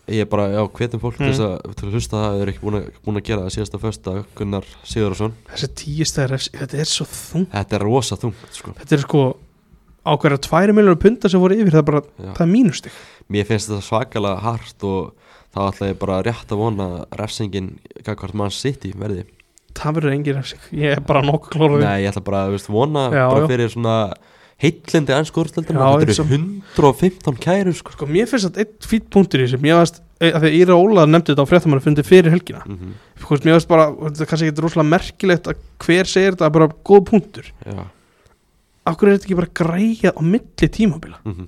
Speaker 1: Ég er bara, já, hvetum fólk
Speaker 2: Mm.
Speaker 1: til, þess að, til að hlusta það, þau eru ekki búin að, búin að gera það síðasta föstudag, Gunnar Sigurðarsson
Speaker 2: Þessi tíistæði refsingu, þetta er svo þung
Speaker 1: Þetta er rosa þungt, sko
Speaker 2: Þetta er sko ákveðra tværi miljónu punta sem voru yfir það er bara,
Speaker 1: Já.
Speaker 2: það er mínustig
Speaker 1: Mér finnst þetta svakalega hart og þá ætla ég bara rétt að vona að refsingin, hvað mann sitt í verði
Speaker 2: Það verður engin refsing, ég er bara nokkuð klóra
Speaker 1: Nei, ég ætla bara að veist, vona
Speaker 2: Já,
Speaker 1: bara
Speaker 2: já.
Speaker 1: fyrir svona heitlindi aðeins skórstöldum
Speaker 2: Já,
Speaker 1: Þetta
Speaker 2: eins og-
Speaker 1: eru 115 kæru sko.
Speaker 2: Sko, mér finnst þetta eitt fýtt punktur í þessu Mér finnst, af því að Íra Ólaður nefndi þetta á fréttamann fyrir helgina
Speaker 1: mm
Speaker 2: Hvort mér finnst bara, þetta er kannski ekki rosalega merkilegt að hver segir þetta bara góð punktur
Speaker 1: Já,
Speaker 2: Af hverju er þetta ekki bara greiða á milli tímabila?
Speaker 1: mm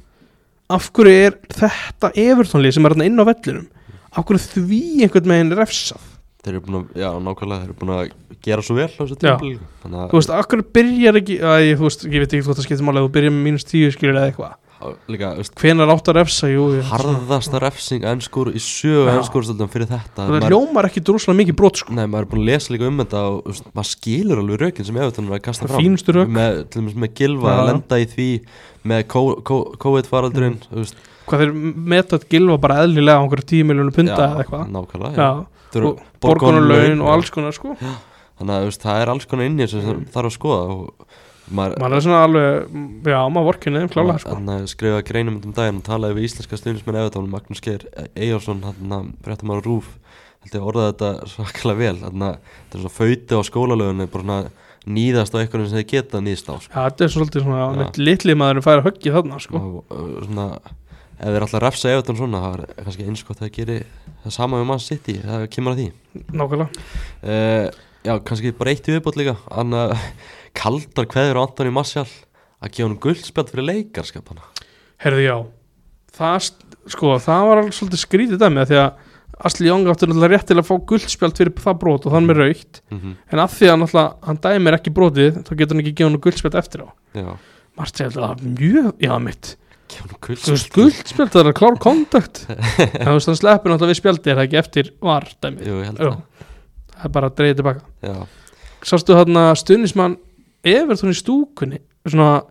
Speaker 2: Af hverju er þetta evertónlið sem er þarna inn á vellinum? Af hverju því einhvern meginn refsað?
Speaker 1: þeir eru búin að, já, nákvæmlega, þeir eru búin að gera svo vel á þessu
Speaker 2: Já.
Speaker 1: tímpil Þannig að
Speaker 2: Þú veist, af hverju byrjar ekki, að, ég, þú veist, ég veit ekki hvort það skiptir máli að þú byrjar með mínus tíu skilur eða eitthvað
Speaker 1: á- líka, veist,
Speaker 2: Hvenær átt að refsa, jú, jú
Speaker 1: harðasta refsing ennskur í sjö
Speaker 2: Já.
Speaker 1: ennskurstöldum fyrir þetta
Speaker 2: Það
Speaker 1: Maður-
Speaker 2: hljómar ekki droslega mikið brot, sko
Speaker 1: Nei, maður er búin að lesa líka um þetta og þú veist, maður skilur alveg rökin sem Everton er að kasta
Speaker 2: Það
Speaker 1: fram
Speaker 2: fínustu rök.
Speaker 1: með, til dæmis með gilfa
Speaker 2: Já,
Speaker 1: að
Speaker 2: já.
Speaker 1: lenda í því með co- co- COVID-faraldurinn
Speaker 2: Mm.
Speaker 1: þú veist,
Speaker 2: Hvað þeir metat gilva bara eðlilega á einhverju tíu miljónu punda
Speaker 1: já,
Speaker 2: eða eitthvað
Speaker 1: nákvæmlega já.
Speaker 2: Já,
Speaker 1: Þetta eru
Speaker 2: og borgunarlaun og alls konar sko
Speaker 1: þannig að þú veist, það er alls konar inni sem mm. þarf að skoða og maður,
Speaker 2: maður er svona alveg, mm, já maður vorkinu þeim klálega sko
Speaker 1: hann skrifaði greinum um daginn og talaði við íslenska stuðnismenn Everton Magnús Geir Eyjálsson, hann fréttum maður rúf held ég að orðaði þetta svakalega vel þannig að þetta er svona föyti á skólalögunni bara svona nýðast á einhvern sem þið geta nýðst á sko.
Speaker 2: Já, þetta er svolítið svona,
Speaker 1: Já.
Speaker 2: ja. litli maður fær að höggja þarna sko
Speaker 1: og, og svona ef þeir alltaf refsa Everton svona það er kannski eins gott að gera það sama við mann sitt í, það kemur að því
Speaker 2: Nákvæmlega,
Speaker 1: uh, já, kannski bara eitt í viðbót líka hann að kaldar kveður á Antoni Marcial að gefa hann guldspjald fyrir leikarskapana
Speaker 2: herðu já það, st- sko, það var alveg svolítið skrítið dæmi af því að Asli Jónga átti náttúrulega rétt til að fá guldspjald fyrir það brot og þann með raukt
Speaker 1: mm -hmm.
Speaker 2: en af því að náttúrulega hann dæmir ekki brotið þá getur hann ekki gefið hann guldspjald eftir á
Speaker 1: já,
Speaker 2: Marti heldur að það var mjög, já mitt
Speaker 1: gefa hann
Speaker 2: Þú veist,
Speaker 1: guldspjald
Speaker 2: guldspjald það er
Speaker 1: [LAUGHS]
Speaker 2: klár kontakt en þú veist, hann sleppur náttúrulega við spjaldi er það ekki eftir var dæmið
Speaker 1: Jú, ég held
Speaker 2: Já,
Speaker 1: það
Speaker 2: það er bara að dreigja tilbaka
Speaker 1: já,
Speaker 2: Sástu þarna stuðnismann Evertón í stúkunni svona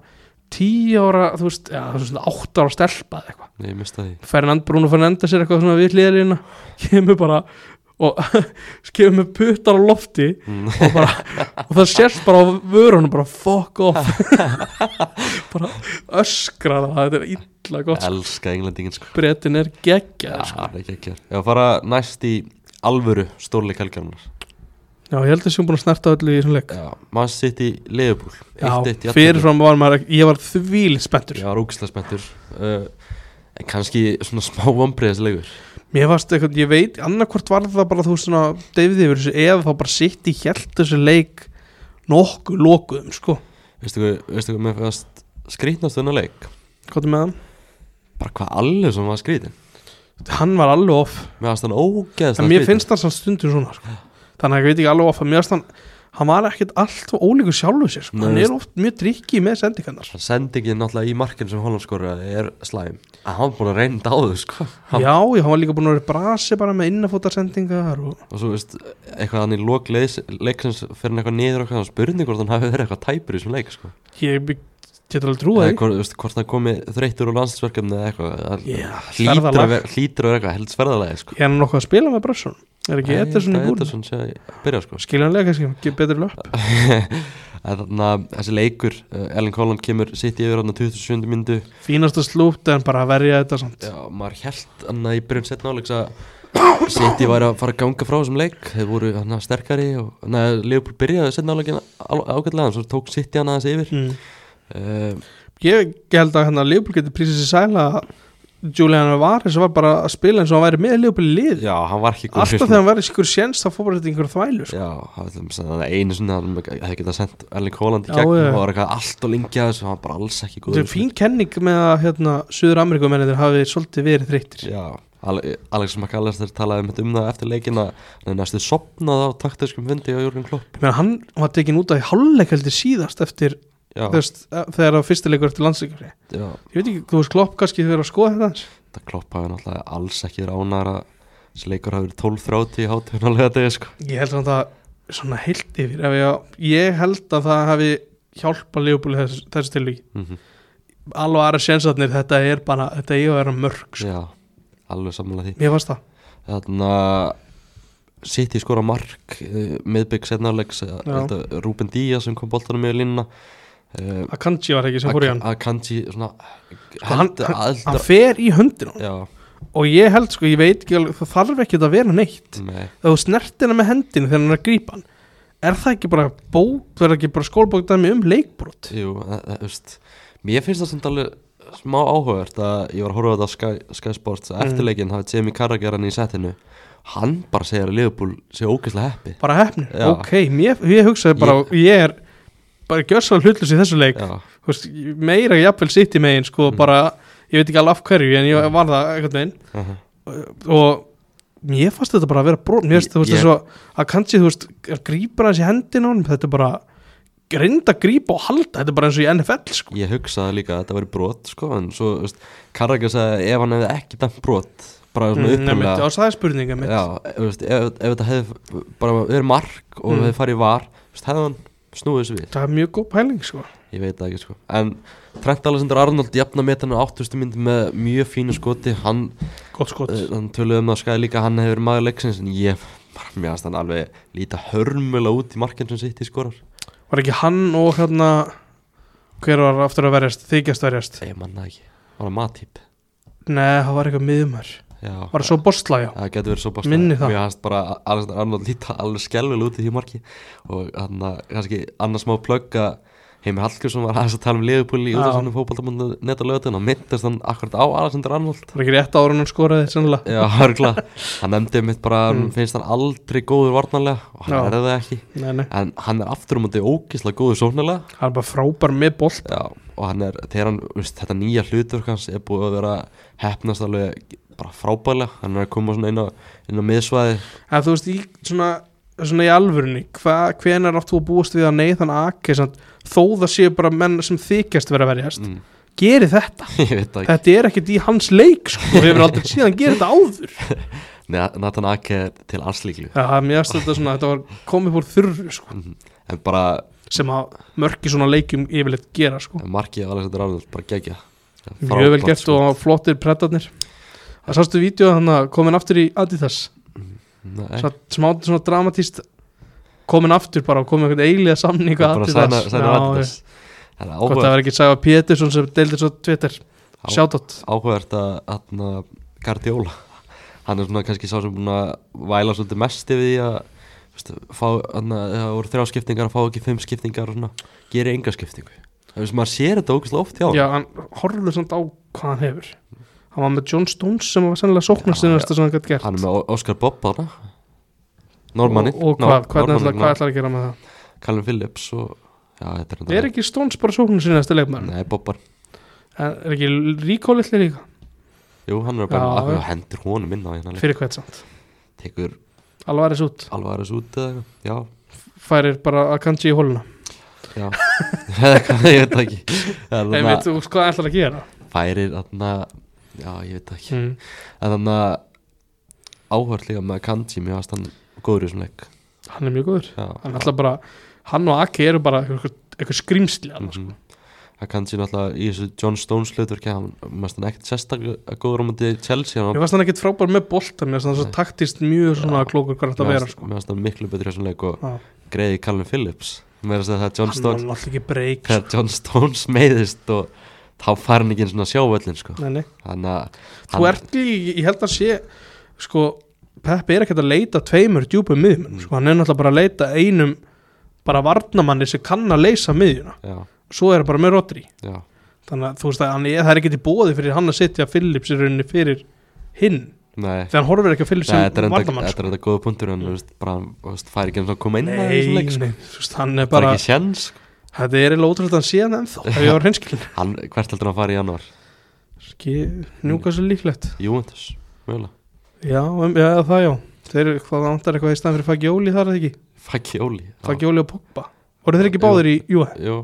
Speaker 2: tíu ára, þú veist, já, þú veist svona átta ára stelpa eða eitthvað
Speaker 1: ég mista því
Speaker 2: Fernand Bruno Fernandes er eitthvað svona
Speaker 1: [LAUGHS]
Speaker 2: við hliðarina kemur bara og [LAUGHS] kemur með puttar á lofti
Speaker 1: Mm.
Speaker 2: og, bara, og það sérst bara á vörunum bara fuck
Speaker 1: [LAUGHS]
Speaker 2: off bara öskra það þetta er illa gott sko.
Speaker 1: elska englendingin sko
Speaker 2: bretin er geggjað sko.
Speaker 1: það er ekki ekki já, fara næst í alvöru stórleik helgarnar
Speaker 2: já, ég held að séum búin að snerta öllu í þessum leik
Speaker 1: já, mann sitt í Leifupúl
Speaker 2: já, fyrirfram var maður ekki- ég var þvíl spenntur
Speaker 1: Ég var ógislega spenntur uh, En kannski svona smá vombriðislegur
Speaker 2: Mér varst eitthvað, ég veit, annarkvort var það bara þú veist svona deyfið yfir þessu eða þá bara sitt í hjælt þessu leik nokkuð lokuðum, sko
Speaker 1: Veistu hvað, veistu hvað, mér fannst skrýtnast þennan leik
Speaker 2: Hvað er með hann?
Speaker 1: Bara hvað allir sem var skrýtin
Speaker 2: Hann var alveg off,
Speaker 1: Mér fannst hann ógeðslega
Speaker 2: en
Speaker 1: skrýtin
Speaker 2: mér finnst hann samt stundum svona, sko Þannig að ég veit ekki alveg off, en mér finnst hann, hann var ekkert allt og ólíkur sjálfur sér, sko
Speaker 1: Nei,
Speaker 2: Hann
Speaker 1: veist-
Speaker 2: er oft mjög drikki með sendingarnar
Speaker 1: Sendingin náttúrulega í markinu sem Holland skoraði er slæm Að hann var búin að reynda á þau sko
Speaker 2: Já, já, hann var líka búin að vera í brasi bara með innafótarsendingar og
Speaker 1: Og svo veist Eitthvað hann í lok leiðs- leiksins Fyrir hann eitthvað niður og eitthvað Spurning hvort hann hafi verið eitthvað tæpur í þessum leik sko
Speaker 2: ég bygg- get alveg trúið
Speaker 1: Eða
Speaker 2: ekki
Speaker 1: hvort, veist, hvort hann komi þreyttur og landsinsverkefni eða eitthvað Það
Speaker 2: Já,
Speaker 1: hlýtur
Speaker 2: ferðalag.
Speaker 1: að vera- hlýtur að vera eitthvað helst ferðalagi sko
Speaker 2: Er hann nokkuð að spila með brasun? Er ekki Ederson í búin?
Speaker 1: Eddarsson sé að byrja sko
Speaker 2: Skiljanlega kannski, ekki betri löp
Speaker 1: [LAUGHS] En þannig að þessi leikur uh, Ellen Collum kemur sitt í yfir hann 27. myndu
Speaker 2: Fínasta slúpt en bara að verja þetta samt
Speaker 1: Já, maður held hann að í byrjun setna áleiks að City væri að fara að ganga frá þessum leik þeir voru hann að sterkari og neða, Leopold byrjaði setna áleikin ágætlega en svo tók City hann aðeins yfir
Speaker 2: mm.
Speaker 1: uh,
Speaker 2: Ég held að hérna Leopold getur prísið sér sæla að Julian Varis var bara að spila eins og hann væri með Leopold í lið
Speaker 1: Já, hann var ekki
Speaker 2: Alltaf þegar hann væri skur séns þá fór bara þetta í einhverju þvælu sko.
Speaker 1: Já, það er það einu sinni hann hefði getað sendt Ellen Collum í
Speaker 2: Já,
Speaker 1: gegn
Speaker 2: já.
Speaker 1: og var eitthvað allt og lengja þessu hann var bara alls ekki góður
Speaker 2: Þetta er fín kenning með að hérna, Suður Amerikumennir hafi svolítið verið þreyttir
Speaker 1: Já, Ale- Alex McAllister talaði um þetta um það eftir leikin að hann er næstu sopnað á taktiskum fundi á Jörgen Klopp
Speaker 2: Menn, Hann var tekin út af í hálfleik heldur síðast eftir
Speaker 1: Já.
Speaker 2: þú veist, eh, þegar það var fyrsti leikur eftir landsleikafri ég
Speaker 1: Já,
Speaker 2: veit ekki, þú veist klopp kannski þegar að skoða þetta aðeins.
Speaker 1: þetta klopp hafi náttúrulega alls ekki ránar að þessi leikur hafi verið 12-30 í hátunalega degi sko.
Speaker 2: ég held samt að svona heilt yfir ef ég, ég held að það hafi hjálpa leifbúli þessu, þessu tilvík
Speaker 1: mm
Speaker 2: alveg aðra sénsatnir, þetta er bara þetta er að vera mörg, sko.
Speaker 1: Já, alveg samanlega því
Speaker 2: mér fannst það
Speaker 1: Þannig að City skora mark eh, miðbygg setnarlegs Rúben eh, Díaz sem kom boltanum með línna uh,
Speaker 2: Akanji var ekki sem fór í hann Sko,
Speaker 1: Akanji svona
Speaker 2: hann,
Speaker 1: heldur
Speaker 2: hann, hann
Speaker 1: aðeldra
Speaker 2: fer í höndin á honum.
Speaker 1: Já,
Speaker 2: og ég held sko, ég veit ekki alveg, það þarf ekki að vera neitt
Speaker 1: nei,
Speaker 2: þegar þú snertir hann með hendinu þegar hann er að grípa hann er það ekki bara bók, það er ekki bara skólbókdæmi um leikbrot
Speaker 1: jú, það, það, veist Mér finnst það samt alveg smá áhugavert að ég var að horfa á þetta á Sky, Sky Sports
Speaker 2: Mm.
Speaker 1: að eftirleikin hafi Jamie Carragher hann í setinu hann bara segir að Liverpool sé ógeðslega heppi
Speaker 2: bara hefnir,
Speaker 1: Já.
Speaker 2: ok, mér, ég hugsaði bara ég, er bara gjörsal hlutlus í þessu leik
Speaker 1: Já,
Speaker 2: Þú veist, meira jafnvel sitt í megin sko, bara, ég veit ekki alveg af hverju en ég var það einhvern veginn
Speaker 1: uh
Speaker 2: og mér fannst þetta bara að vera brot mér finnst þú veist
Speaker 1: Ég-
Speaker 2: þess að kannski þú veist að grípa hans í hendin á hann þetta er bara grind að grípa og halda þetta er bara eins og í NFL sko
Speaker 1: Ég hugsaði líka að þetta væri brot sko, en svo, þú veist, Karraka sagði að ef hann hefði ekki dæmt brot bara svona
Speaker 2: Mm, Nei, mitt,
Speaker 1: upprunalega
Speaker 2: já, það er spurninga mitt
Speaker 1: Já, þú veist, ef, ef þetta hefði bara verið mark og
Speaker 2: Mm.
Speaker 1: hefði farið í var þú veist, hefði hann snúið þessu við
Speaker 2: það er mjög góð pæling sko
Speaker 1: ég veit það ekki sko en Trent Alexander Arnold jafna metinu áttustu mynd með mjög fínu skoti hann,
Speaker 2: gott skot
Speaker 1: eh, hann töluðu um það skæði líka hann hefur verið maður leiksins en ég bara mér að hann alveg líta hörmulega út í markinn sem sitt í skorar
Speaker 2: var ekki hann og hérna hver var aftur að verjast þykjast verjast
Speaker 1: ég manna ekki, hann var matýp
Speaker 2: nei það var eitthvað miðumar
Speaker 1: já,
Speaker 2: var það svo bostla já
Speaker 1: það getur verið svo bara
Speaker 2: Minni það.
Speaker 1: mér hannst bara Alexander Arnold líta alveg skelvilega út í því marki og hann að kannski annars má plugga Heimir Hallgjörsson var aðeins að tala um Liverpool í
Speaker 2: Já.
Speaker 1: útafsvonum fótballtamundu netta löðun og myndast hann akkurat á Alexander Arnold
Speaker 2: var ekki rétt ára hann skoraði sannlega
Speaker 1: Já, hörgla, hann nefndi mitt bara mm. finnst hann aldrei góður varnarlega og hann
Speaker 2: Já.
Speaker 1: er það ekki
Speaker 2: nei nei
Speaker 1: en hann er aftur um þetta ógislega góður sóknarlega
Speaker 2: hann er bara frábær með bolt
Speaker 1: Já, og hann er, þegar hann, veist, þetta nýja hlutverk hans er búið að vera hefnast alveg bara frábælega, hann er að koma svona inn á, inn á miðsvæði
Speaker 2: að þú veist í svona svona í alvörunni, hva, hvenær átt þú að búast við að neyðan aki samt, þó það séu bara menn sem þykjast vera að verjast
Speaker 1: mm,
Speaker 2: geri þetta,
Speaker 1: [LAUGHS] ég veit það
Speaker 2: þetta er ekkert í hans leik sko, þú hefur aldrei síðan gera þetta áður
Speaker 1: ekki Nei, Nathan Ake er til arslíklu
Speaker 2: það er mjög stöld að svona, þetta var komið fór þurru sko,
Speaker 1: en bara
Speaker 2: sem að mörki svona leikum yfirleitt gera sko.
Speaker 1: markið Alexander Arnold bara gegja
Speaker 2: mjög vel
Speaker 1: sko.
Speaker 2: gert og flottir predarnir það sástu vídeo þannig að komin aftur í Adidas
Speaker 1: Nei,
Speaker 2: Satt smá svona dramatíst komin aftur bara og komin einhvern eilíða samning
Speaker 1: bara
Speaker 2: að
Speaker 1: sæna, sæna
Speaker 2: Já,
Speaker 1: Adidas Það er
Speaker 2: Hvort það
Speaker 1: áhugavert,
Speaker 2: var ekki Sæfa Pétursson sem deildi svo Twitter
Speaker 1: Já.
Speaker 2: Shoutout
Speaker 1: áhugavert að hérna, Guardiola hann er svona kannski sá sem búin að væla svolítið mest yfir því að veist, fá, hana, það voru þrjá skiptingar að fá ekki fimm skiptingar og svona, gerir enga skiptingu það veist, maður sér þetta ógæslega oft hjá honum.
Speaker 2: Já, hann horfður samt á hvað hann hefur Hann var með John Stones sem var sennilega sóknarstunnast sem hann gætt gert
Speaker 1: hann er með Ó- Oscar Bob hana Normanni
Speaker 2: Og, og hvað, hvað, ætlar, hvað ætlar að gera með það?
Speaker 1: Callum Phillips og já, þetta er,
Speaker 2: Er ekki Stones bara sóknarstunnast leikmann?
Speaker 1: Nei, Bobbar,
Speaker 2: Er er ekki Ríkó litli líka?
Speaker 1: jú, hann er
Speaker 2: Já,
Speaker 1: bara
Speaker 2: já.
Speaker 1: já, hendur honum inn á hérna leik.
Speaker 2: Fyrir hvert samt
Speaker 1: tekur
Speaker 2: Alvaris út
Speaker 1: alveg aðeins út eða eitthvað,
Speaker 2: Færir bara að kanji í hóluna
Speaker 1: já, [LAUGHS] já Eða hvað, ég veit það ekki Það er
Speaker 2: Nei,
Speaker 1: þarna-
Speaker 2: veit þú veist hvað ætlar að gera?
Speaker 1: færir þarna já ég veit það ekki
Speaker 2: Mm.
Speaker 1: en þarna áhört líka með Kanji mér varst hann góður í svona leik
Speaker 2: Hann er mjög góður
Speaker 1: já,
Speaker 2: Hann er alltaf bara Hann og Aki eru bara eitthvað, eitthvað skrýmsli mm
Speaker 1: Mhm. það Kanji náttúrulega í þessu John Stones hlutverki hann varst hann ekkert sérstaklega góður á mútið Chelsea hann
Speaker 2: Mér fannst hann ekkert frábær með bolta Mér fannst hann svo taktist mjög svona klókur hvað þetta vera sko.
Speaker 1: mér varst hann miklu betur í svona leik og
Speaker 2: Já.
Speaker 1: greiði Callum Phillips mér varst það að John
Speaker 2: Hann var
Speaker 1: Stones
Speaker 2: alltaf ekki sko. breyk
Speaker 1: þegar John Stones meiðist og þá fær hann ekki einu svona sjávöllin sko
Speaker 2: Nei, nei.
Speaker 1: þannig að
Speaker 2: Þú
Speaker 1: hann-
Speaker 2: ert líka, ég held að sé Sko, Peppi er ekkert að leita Tveimur djúpum miðjum sko, Hann er náttúrulega bara að leita einum Bara varnamanni sem kann að leysa miðjuna
Speaker 1: já,
Speaker 2: Svo er hann bara með Rodri
Speaker 1: já,
Speaker 2: Þannig að þú veist að hann, er- það er ekkert í bóði fyrir hann að setja Phillips í rauninni fyrir hinn
Speaker 1: nei
Speaker 2: Þegar hann horfir ekki á Phillips
Speaker 1: Nei, þetta
Speaker 2: sem
Speaker 1: er enda,
Speaker 2: varnamann
Speaker 1: þetta
Speaker 2: sko.
Speaker 1: er enda góða punktur en þú veist, bara, þú veist, fær ekki eins og koma inn að
Speaker 2: Nei,
Speaker 1: þessum leik, sko.
Speaker 2: nei, þú veist, hann er
Speaker 1: Það er
Speaker 2: bara
Speaker 1: ekki séns sko.
Speaker 2: Þetta er eiginlega ótrúlega hann síðan ennþá Ef ég var hreinskilin
Speaker 1: Hann, hvert heldur hann að fara í janúar?
Speaker 2: Njúka svo líklegt
Speaker 1: Júventus, mögulega
Speaker 2: Mm. Já, um, já það já Þeir eru hvað ántar eitthvað í staðan fyrir Fagioli þar er það ekki
Speaker 1: Fagioli já.
Speaker 2: Fagioli og Pogba Voru þeir ekki báðir í, jú,
Speaker 1: Jú,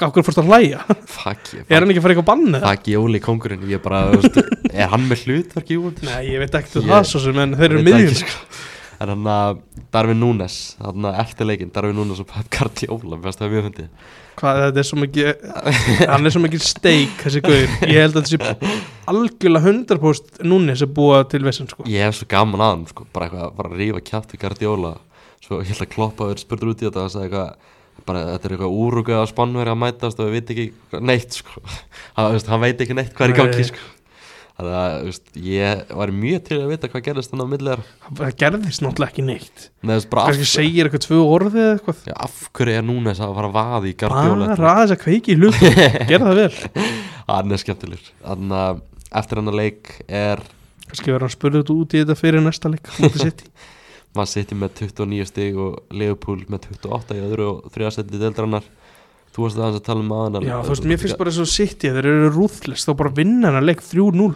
Speaker 2: Akkur fórst
Speaker 1: [LAUGHS]
Speaker 2: að hlæja
Speaker 1: Fuck ég,
Speaker 2: Er
Speaker 1: fuck,
Speaker 2: hann ekki að fara eitthvað bann eða?
Speaker 1: fuck ég Óli kongurinn Ég bara, þú veist, er hann með hlutverk í Juventus?
Speaker 2: Nei, ég veit ekkert um
Speaker 1: Ég-
Speaker 2: það svo sem En þeir
Speaker 1: Ég
Speaker 2: eru
Speaker 1: veit það
Speaker 2: miðjum
Speaker 1: ekki, sko. En hann að Darvin Núnes Þannig að eftir leikinn Darvin Núnes og Pep Guardiola Mér finnst það mjög fyndið
Speaker 2: Hvað þetta er svo
Speaker 1: [LAUGHS]
Speaker 2: mikið Hann er svo mikið steik þessi guður Ég held að þessi algjörlega 100% núni sem búa til vesinn sko
Speaker 1: Ég hef svo gaman að hann sko, Bara eitthvað Bara að rífa kjátt við Guardiola Svo ég held að kloppa Þeir spurður út í þetta Það sagði eitthvað bara, þetta er eitthvað úrugað að spannveri að mætast og við veit ekki hvað- neitt sko. [LAUGHS] hann, þú veist, hann veit ekki neitt hvað er í gangi
Speaker 2: Nei.
Speaker 1: sko. þannig að þú veist, ég var mjög til að vita hvað gerðist þannig á milli þar
Speaker 2: Það gerðist náttúrulega ekki neitt
Speaker 1: Nei, þú veist, bara af-
Speaker 2: Kannski segir eitthvað tvö orðið eða eitthvað
Speaker 1: Já, af hverju er núna þess að fara að vaði í
Speaker 2: Bara
Speaker 1: Guardiola
Speaker 2: aðeins að kveiki í hlut Gerða það vel
Speaker 1: [LAUGHS] hann er skemmtilegur þannig að eftir hann að leik er
Speaker 2: Kannski verður hann spurðið út í þetta fyrir næsta leik
Speaker 1: [LAUGHS]
Speaker 2: Mútið sitt
Speaker 1: maður sittir með 29 stig og Leopold með 28 í öðru og þriðasetti deildrannar þú varst aðeins að tala um aðan
Speaker 2: Já, þú veist, mér finnst bara svo sitt Þeir eru rúðlist þá bara vinna hann að leik 3-0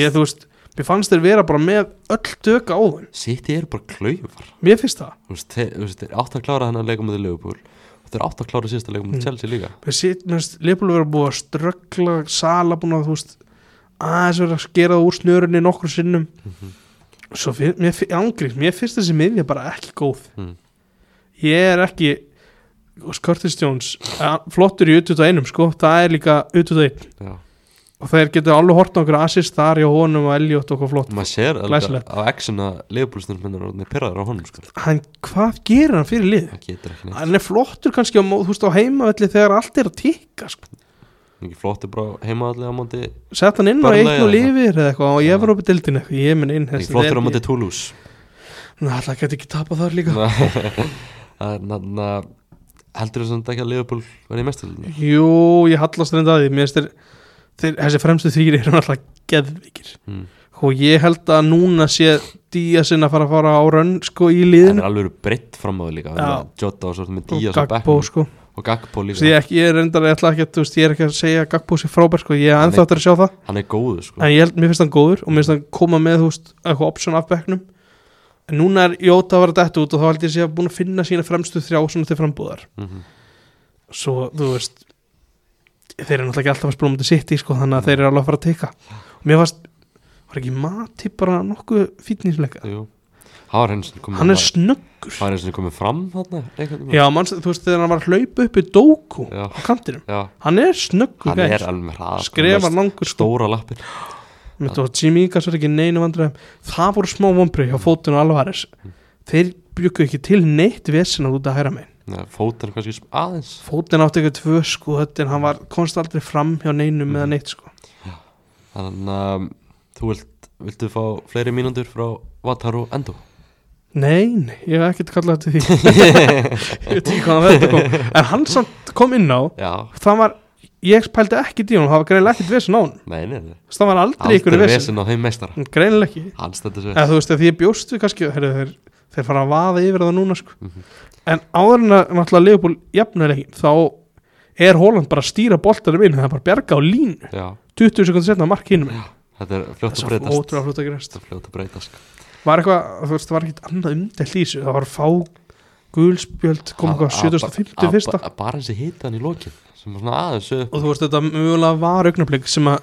Speaker 2: Ég, þú veist, mér fannst þeir vera bara með öll döka á þeim
Speaker 1: City eru bara klaufar
Speaker 2: Mér finnst það
Speaker 1: þú veist, þeir, þú veist, þeir átt að klára þennan leikum með Leopold og þeir átt að klára síðasta leikum
Speaker 2: Hmm.
Speaker 1: með Chelsea líka
Speaker 2: Mér sitt, mér finnst Leopold vera búið að ströggla Sala búin að, þú veist aðeins vera að skera það úr snörunni nokkur sinnum Svo finn, mér, fi- ángríns, mér finnst þessi miðja bara ekki góð
Speaker 1: Mm.
Speaker 2: Ég er ekki þú veist, Curtis Jones að- flottur í utvitað einum, sko það er líka utvitað einn
Speaker 1: Já.
Speaker 2: og þeir geta alveg hort á einhverja assist þar hjá honum og Elliot og hvað flott
Speaker 1: og maður sér alveg
Speaker 2: Glæsilegt.
Speaker 1: á action að Leopold stundmennir og þeir pyrraður á honum sko.
Speaker 2: hann, hvað gerir hann fyrir lið?
Speaker 1: það getur ekki neitt
Speaker 2: hann er flottur kannski á, mó- þú veist, á heimavelli þegar allt er að tikka sko.
Speaker 1: ekki flottir bara heima allir á móti
Speaker 2: sett hann inn á
Speaker 1: Burnley
Speaker 2: einn
Speaker 1: eða
Speaker 2: og
Speaker 1: eitthvað.
Speaker 2: lifir eða eitthvað og
Speaker 1: Já.
Speaker 2: ég var opið dildin eitthvað ég minn inn
Speaker 1: ekki flottir á móti
Speaker 2: [LAUGHS]
Speaker 1: Toulouse
Speaker 2: það geti ekki tapað þar líka
Speaker 1: Þannig að heldur þú samt ekki að Liverpool verði í mestarlunni?
Speaker 2: jú, ég hallast reynda að því mér finnst þeir, þeir, þessi fremstu þýri eru alltaf geðvikir
Speaker 1: Mm.
Speaker 2: og ég held að núna sé Díaz inn að fara að fara á rönn sko í
Speaker 1: Það er
Speaker 2: liðinu
Speaker 1: alveg breytt fram á því líka þannig að Jota og svo ertu með
Speaker 2: og
Speaker 1: Díaz og
Speaker 2: Gagbo
Speaker 1: Beckham
Speaker 2: sko
Speaker 1: og Gagbo
Speaker 2: Svo ég,
Speaker 1: líka
Speaker 2: er ekki, ég er reyndar, ég ætla ekki að, þú veist, ég er ekki að segja að Gagbo sé frábær sko, ég er
Speaker 1: Nei.
Speaker 2: ennþá eftir að sjá það
Speaker 1: hann er góður sko
Speaker 2: en ég held, mér finnst hann góður og mér finnst hann koma með, þú veist, eitthvað option af bekknum en núna er Jóta að vera dætt út og þá held ég sé að búin að finna sína fremstu þrjá svona til frambúðar
Speaker 1: Mhm.
Speaker 2: svo, þú veist þeir eru náttúrulega ekki alltaf að spila um þetta sitt í sko, þannig að þeir eru alveg að fara að teka og mér fannst, var ekki mati bara nokkuð fítnisleika
Speaker 1: Jú. hann var henni sem
Speaker 2: hann
Speaker 1: komið
Speaker 2: er snöggur
Speaker 1: hann er henni sem komið fram þarna einhvern veginn.
Speaker 2: já, manns, þú veist, þegar hann var að hlaupa upp í dóku
Speaker 1: Já.
Speaker 2: á kantinum,
Speaker 1: Já.
Speaker 2: hann er snöggur
Speaker 1: hann er
Speaker 2: gæs.
Speaker 1: alveg með hrað
Speaker 2: skrefar langur sko.
Speaker 1: stóra lappir
Speaker 2: Mitt og Jimmy Ingas var ekki í neinu vandræðum Það voru smá vonbrið hjá Fótun og Alvarez Þeir bjuggu ekki til neitt vesen að út að hæra megin
Speaker 1: fótinn kannski sm- aðeins
Speaker 2: Fótun átti ekki tvö sko en hann var komst aldrei fram hjá neinum mm. eða neitt sko
Speaker 1: þannig að þú vilt viltu fá fleiri mínúndur frá Vataru Endo
Speaker 2: Nei, nei, ég hef ekkert kallað [LAUGHS] til því Ég veit ekki hvaðan þetta kom En hann samt kom inn á
Speaker 1: já
Speaker 2: Það var, ég pældi ekki díunum Það var greinilega ekkert vesen á hann
Speaker 1: nei nei nei
Speaker 2: Þess, Það var aldrei ykkur
Speaker 1: aldrei
Speaker 2: vesen,
Speaker 1: vesen á þeim mestara
Speaker 2: vesen. Greinilega ekki
Speaker 1: hann stendur
Speaker 2: eða
Speaker 1: sér
Speaker 2: þú veist, ef ég bjóst við kannski heru, þeir, þeir fara að vaða yfir það núna sko.
Speaker 1: Mhm.
Speaker 2: en áður en að náttúrulega Leopold jafnir ekki, þá er Holland bara að stýra boltanum inn það er bara að bjarga á línu,
Speaker 1: já
Speaker 2: 20 sekundar setna að mark hinum inn.
Speaker 1: þetta er fljótt að
Speaker 2: það er svo
Speaker 1: breytast
Speaker 2: ótrúlega fljótt að gerast
Speaker 1: þetta er fljótt að breytast sko.
Speaker 2: var eitthvað, þú veist, það var ekkit annað umdelt í þessu það var fá gulspjöld kom
Speaker 1: Að-
Speaker 2: eitthvað
Speaker 1: að-
Speaker 2: 75.
Speaker 1: að-
Speaker 2: fyrsta
Speaker 1: að- bara þessi hitan í lokin sem var svona aðeins eh, upp
Speaker 2: og þú veist, þetta mögulega var augnablík sem að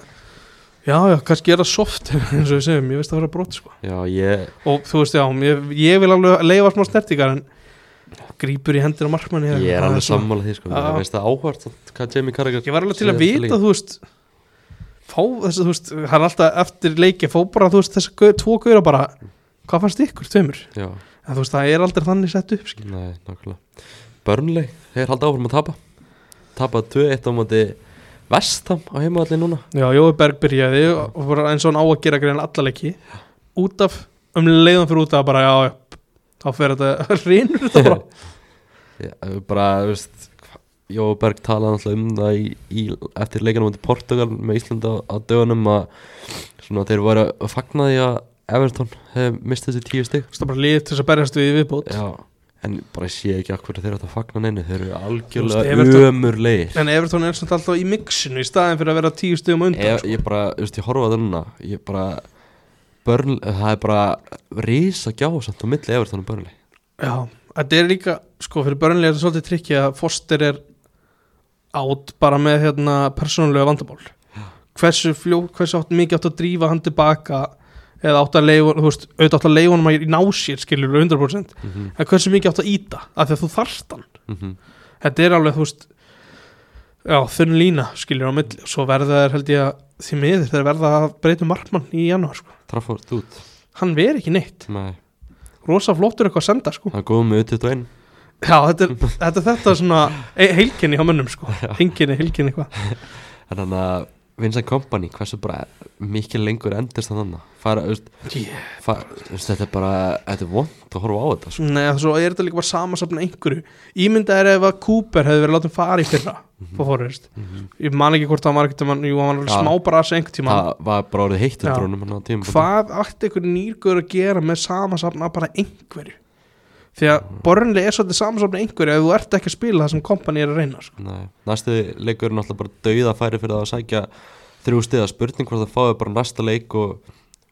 Speaker 2: Já, já, kannski er það soft [LAUGHS] eins og við segjum, ég veist það var að brot sko.
Speaker 1: já ég
Speaker 2: og þú veist, já, ég, ég vil alveg leifa smá snertingar en grípur í hendur á markmanni eða
Speaker 1: ég er
Speaker 2: eitthvað,
Speaker 1: alveg
Speaker 2: það svona-
Speaker 1: sammála því sko
Speaker 2: Já.
Speaker 1: ég veist það áhvert hvað Jamie Carragher
Speaker 2: Ég var alveg til að
Speaker 1: síðasta
Speaker 2: vita,
Speaker 1: leik.
Speaker 2: þú veist Fá þess að, þú veist Það er alltaf eftir leiki, fá bara, þú veist Þessi gau, tvo gauðra bara Hvað fannst ykkur, tveimur?
Speaker 1: já
Speaker 2: En þú veist, það er aldrei þannig sett upp skil.
Speaker 1: nei nákvæmlega Burnley þeir halda áfram að tapa tapa 2-1 á móti Vestam á heimavalli núna
Speaker 2: Já, Jói Berg byrjaði og bara eins og hann á að gera grein alla leiki Út af, um leiðan fyrir út af bara, já, já Þá fer þetta [LAUGHS] rinur þetta bara
Speaker 1: [LAUGHS] Já, eh, bara, þú veist hva- Jó Berg talaði alltaf um það í, í, eftir leikanum á Portugal með Ísland á, á dögunum að svona, þeir voru að fagna því að Everton hefði mistið þessi tíu stig
Speaker 2: Þú veist, það er bara lið til þess að berjast við í viðbót
Speaker 1: Já, en bara sé ekki af hverju þeir eru að fagna neinu þeir eru
Speaker 2: Þú veist,
Speaker 1: algjörlega
Speaker 2: Everton-
Speaker 1: ömurleir
Speaker 2: En Evertón er samt alltaf í mixinu í staðin fyrir að vera tíu stegum undan
Speaker 1: ég, ég bara, þú veist, ég horfa þarna ég bara börn, það er bara risa gjá samt á milli Everton og Burnley
Speaker 2: Já, þetta er líka, sko, fyrir börnlega er þetta svolítið trikki að Foster er á átt bara með hérna, persónulega vandamál hversu, fljó, hversu átt, mikið átt að drífa hann tilbaka eða átt að leifa þú veist, auðvitað átt að leifa hann að ná sér skilur 100% en hversu mikið átt að íta af því að þú þarft hann þetta er alveg þú veist já, þunn lína skilur á milli og svo verða þær held ég að því miður þeir verða að breyta um markmann í janúar sko.
Speaker 1: Trafford út
Speaker 2: hann veri ekki neitt,
Speaker 1: Nei,
Speaker 2: rosa flottur eitthvað að senda sko.
Speaker 1: það er góð með 21
Speaker 2: já, þetta er þetta, er þetta svona e heilkinni á mönnum sko. heilkinni, heilkinni eitthvað
Speaker 1: En þannig að Vincent Kompany, hversu bara mikil lengur endist þannig að fara, þú veist,
Speaker 2: yeah.
Speaker 1: fara, þú veist, þetta er bara, þetta er vond að horfa á þetta, sko.
Speaker 2: Nei, svo er þetta líka bara samasafna einhverju Ímynda er ef að Cooper hefði verið látið fara í fyrra på Forrest Ég man ekki hvort það var ekkert Jú, hann var alveg
Speaker 1: Mhm. Já.
Speaker 2: smá bara að segja einhvern tíma
Speaker 1: Það var bara orðið heitt
Speaker 2: Já.
Speaker 1: undir honum hann á tíma.
Speaker 2: hvað ætti einhver nýrgur að gera með samansafna bara einhverju því að
Speaker 1: Mhm.
Speaker 2: borunlega er svolítið samansafna einhverju ef þú ert ekki að spila það sem kompani er að reyna sko.
Speaker 1: Nei, næstu leikur hérna, er náttúrulega bara dauða færi fyrir það að sækja þrjú stiða spurning hvort það fáið bara næsta leik og